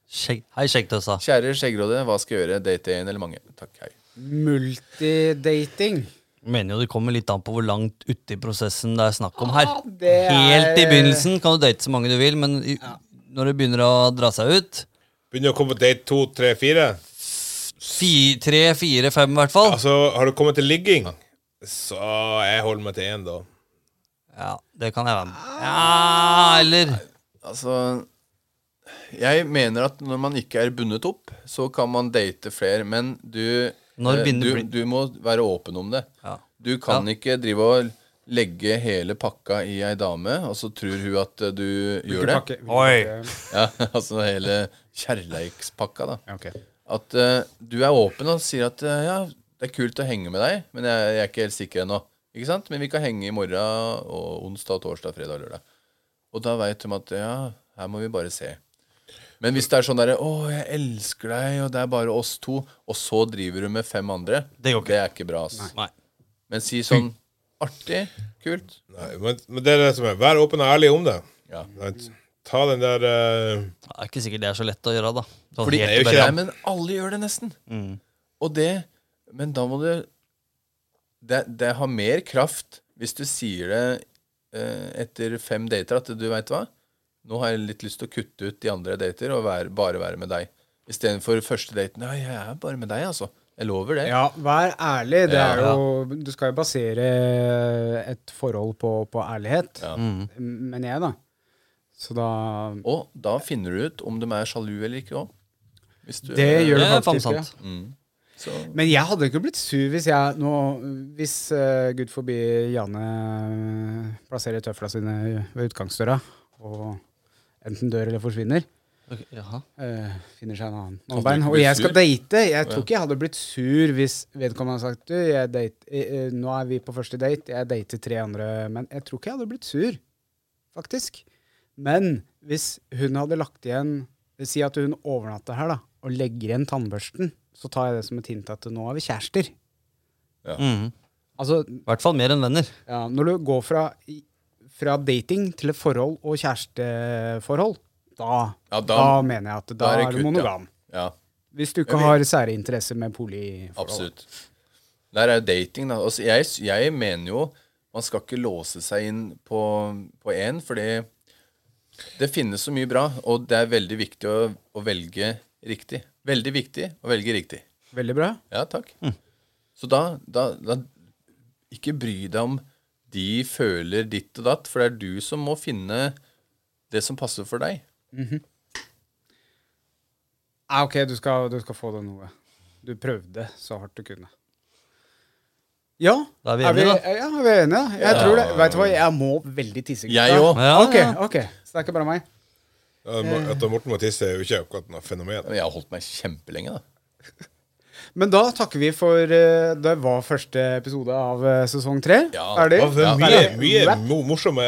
Speaker 6: Skjegg. Hei, skjeggtøsa.
Speaker 5: Kjære Skjeggråde, hva skal jeg gjøre? Date én eller mange? Takk, hei.
Speaker 4: Multidating.
Speaker 6: Mener jo det kommer litt an på hvor langt ute i prosessen det er snakk om her.
Speaker 4: Ja, Ah, det er-
Speaker 6: Helt i begynnelsen kan du date så mange du vil, men i, når det begynner å dra seg ut
Speaker 7: Begynner å komme på date to, tre, fire.
Speaker 6: fi- Tre, fire, fem i hvert fall.
Speaker 7: Altså, har du kommet til ligging, så jeg holder meg til én, da.
Speaker 6: Ja, det kan jeg være med Ja, eller
Speaker 5: Altså Jeg mener at når man ikke er bundet opp, så kan man date flere, men du,
Speaker 6: Når
Speaker 5: eh,
Speaker 6: begynner
Speaker 5: du,
Speaker 6: bli-
Speaker 5: du må være åpen om det.
Speaker 6: Ja.
Speaker 5: Du kan ikke drive og legge hele pakka i ei dame, og så tror hun at eh, du gjør det.
Speaker 6: Oi.
Speaker 5: Ja, altså hele kjærleikspakka, da.
Speaker 4: Ja, ok.
Speaker 5: At eh, du er åpen og sier at eh, ja, det er kult å henge med deg, men jeg, jeg er ikke helt sikker ennå. Ikke sant? Men vi kan henge i morgen og onsdag, torsdag, fredag, lørdag. Og da veit de at ja, her må vi bare se. Men hvis det er sånn derre 'Å, jeg elsker deg, og det er bare oss to', og så driver du med fem andre,
Speaker 6: Det går ikke.
Speaker 5: er ikke bra. Ass.
Speaker 6: Nei.
Speaker 5: Men si sånn artig, kult.
Speaker 7: Nei, men, men det er det som er. Vær åpen og ærlig om det.
Speaker 5: Ja.
Speaker 7: Sant? Ta den der eh,
Speaker 6: Det er ikke sikkert det er så lett å gjøre, da. Sånn
Speaker 5: Fordi,
Speaker 6: helt
Speaker 5: det er jo
Speaker 6: i
Speaker 5: ikke
Speaker 6: begynnelsen.
Speaker 5: det, men alle gjør det nesten.
Speaker 4: Mm.
Speaker 5: Og det Men da må du det, det har mer kraft hvis du sier det eh, etter fem dater at du veit hva Nå har jeg litt lyst til å kutte ut de andre jeg dater og være, bare være med deg. Istedenfor første daten. Nei, jeg er bare med deg, altså. Jeg lover det.
Speaker 4: Ja, vær ærlig. Det
Speaker 5: Ja.
Speaker 4: er jo, du skal jo basere et forhold på, på ærlighet.
Speaker 5: Ja.
Speaker 4: Men jeg, da. Så da
Speaker 5: Og da finner du ut om de er sjalu eller ikke òg. Hvis du Mm.
Speaker 4: Det gjør du
Speaker 6: Det er faen
Speaker 4: faktisk.
Speaker 6: sant.
Speaker 4: Ja.
Speaker 5: Så,
Speaker 4: Men jeg hadde ikke blitt sur hvis jeg nå Hvis uh, gud eh, forbi Jane plasserer tøfla sine ved utgangsdøra, og enten dør eller forsvinner,
Speaker 6: Ok, Jaha.
Speaker 4: Eh, finner seg en annen
Speaker 5: du
Speaker 4: mannbein.
Speaker 5: ikke
Speaker 4: Og
Speaker 5: bli
Speaker 4: jeg skal
Speaker 5: sur?
Speaker 4: date. Jeg tror ikke jeg hadde blitt sur hvis vedkommende hadde sagt du, jeg date, eh, eh, nå er vi på første date, jeg dater tre andre menn. Jeg tror ikke jeg hadde blitt sur, faktisk. Men hvis hun hadde lagt igjen Si at hun overnatter her, da, og legger igjen tannbørsten, så tar jeg det som et hint at nå er vi kjærester.
Speaker 6: Mhm.
Speaker 4: Altså,
Speaker 6: I hvert fall mer enn venner.
Speaker 4: ja, når du går fra, fra dating til et forhold og kjæresteforhold, da,
Speaker 5: Ja,
Speaker 4: da,
Speaker 5: da-
Speaker 4: mener jeg at da,
Speaker 5: da er
Speaker 4: er,
Speaker 5: det
Speaker 4: du
Speaker 5: kutt, ja.
Speaker 4: monogam.
Speaker 5: Ja,
Speaker 4: Hvis du ikke
Speaker 5: Jeg vet-
Speaker 4: har sære interesser med polyforhold.
Speaker 5: absolutt. Der er jo dating, da. Altså, jeg, jeg mener jo man skal ikke låse seg inn på én, fordi det finnes så mye bra, og det er veldig viktig å, å velge riktig. Veldig viktig å velge riktig.
Speaker 4: Veldig bra.
Speaker 5: Ja, takk. Så da, da, da Ikke bry deg om de føler ditt og datt, for det er du som må finne det som passer for deg.
Speaker 4: Ja, ok, du skal, du skal få deg noe. Du prøvde så hardt du kunne. Ja,
Speaker 6: Da er vi enige, da.
Speaker 4: Ja, er vi enige? Jeg tror det. Vet du hva, jeg må veldig tisse. gutta.
Speaker 5: Jeg òg.
Speaker 6: Ja,
Speaker 4: Ok,
Speaker 6: ja.
Speaker 4: ok. Så det er ikke bare meg.
Speaker 7: Ja, Mo- At Morten må tisse, er jo ikke akkurat noe fenomen.
Speaker 5: Jeg har holdt meg kjempelenge, da.
Speaker 4: Men da takker vi for eh, Det var første episode av eh, sesong tre.
Speaker 5: Ja.
Speaker 4: Ferdig?
Speaker 7: Ja, det
Speaker 5: Ja,
Speaker 7: er mye,
Speaker 4: det-
Speaker 7: mye
Speaker 4: rap.
Speaker 7: mo- morsomme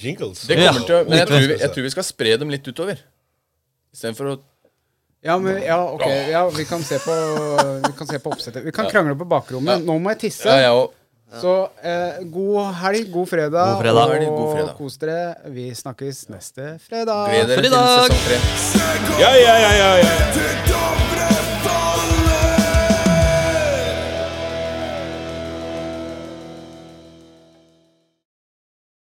Speaker 7: jingles.
Speaker 5: Det kommer
Speaker 6: Ja.
Speaker 5: til, å- men jeg tror, vi, jeg tror vi skal spre dem litt utover. Istedenfor å
Speaker 4: Ja, men, ja, ok. Ja, vi kan se på, vi kan se på oppsettet. Vi kan krangle på bakrommet. Nå må jeg tisse.
Speaker 5: Ja, jeg òg.
Speaker 4: Så eh, god helg, god fredag,
Speaker 6: God fredag.
Speaker 5: God helg,
Speaker 4: og
Speaker 5: god fredag.
Speaker 4: kos dere. Vi snakkes neste fredag.
Speaker 5: Gleder
Speaker 6: for
Speaker 5: dere
Speaker 6: i
Speaker 5: til
Speaker 6: dag.
Speaker 5: sesong tre.
Speaker 7: Ja, ja, ja, ja, ja.
Speaker 2: Dette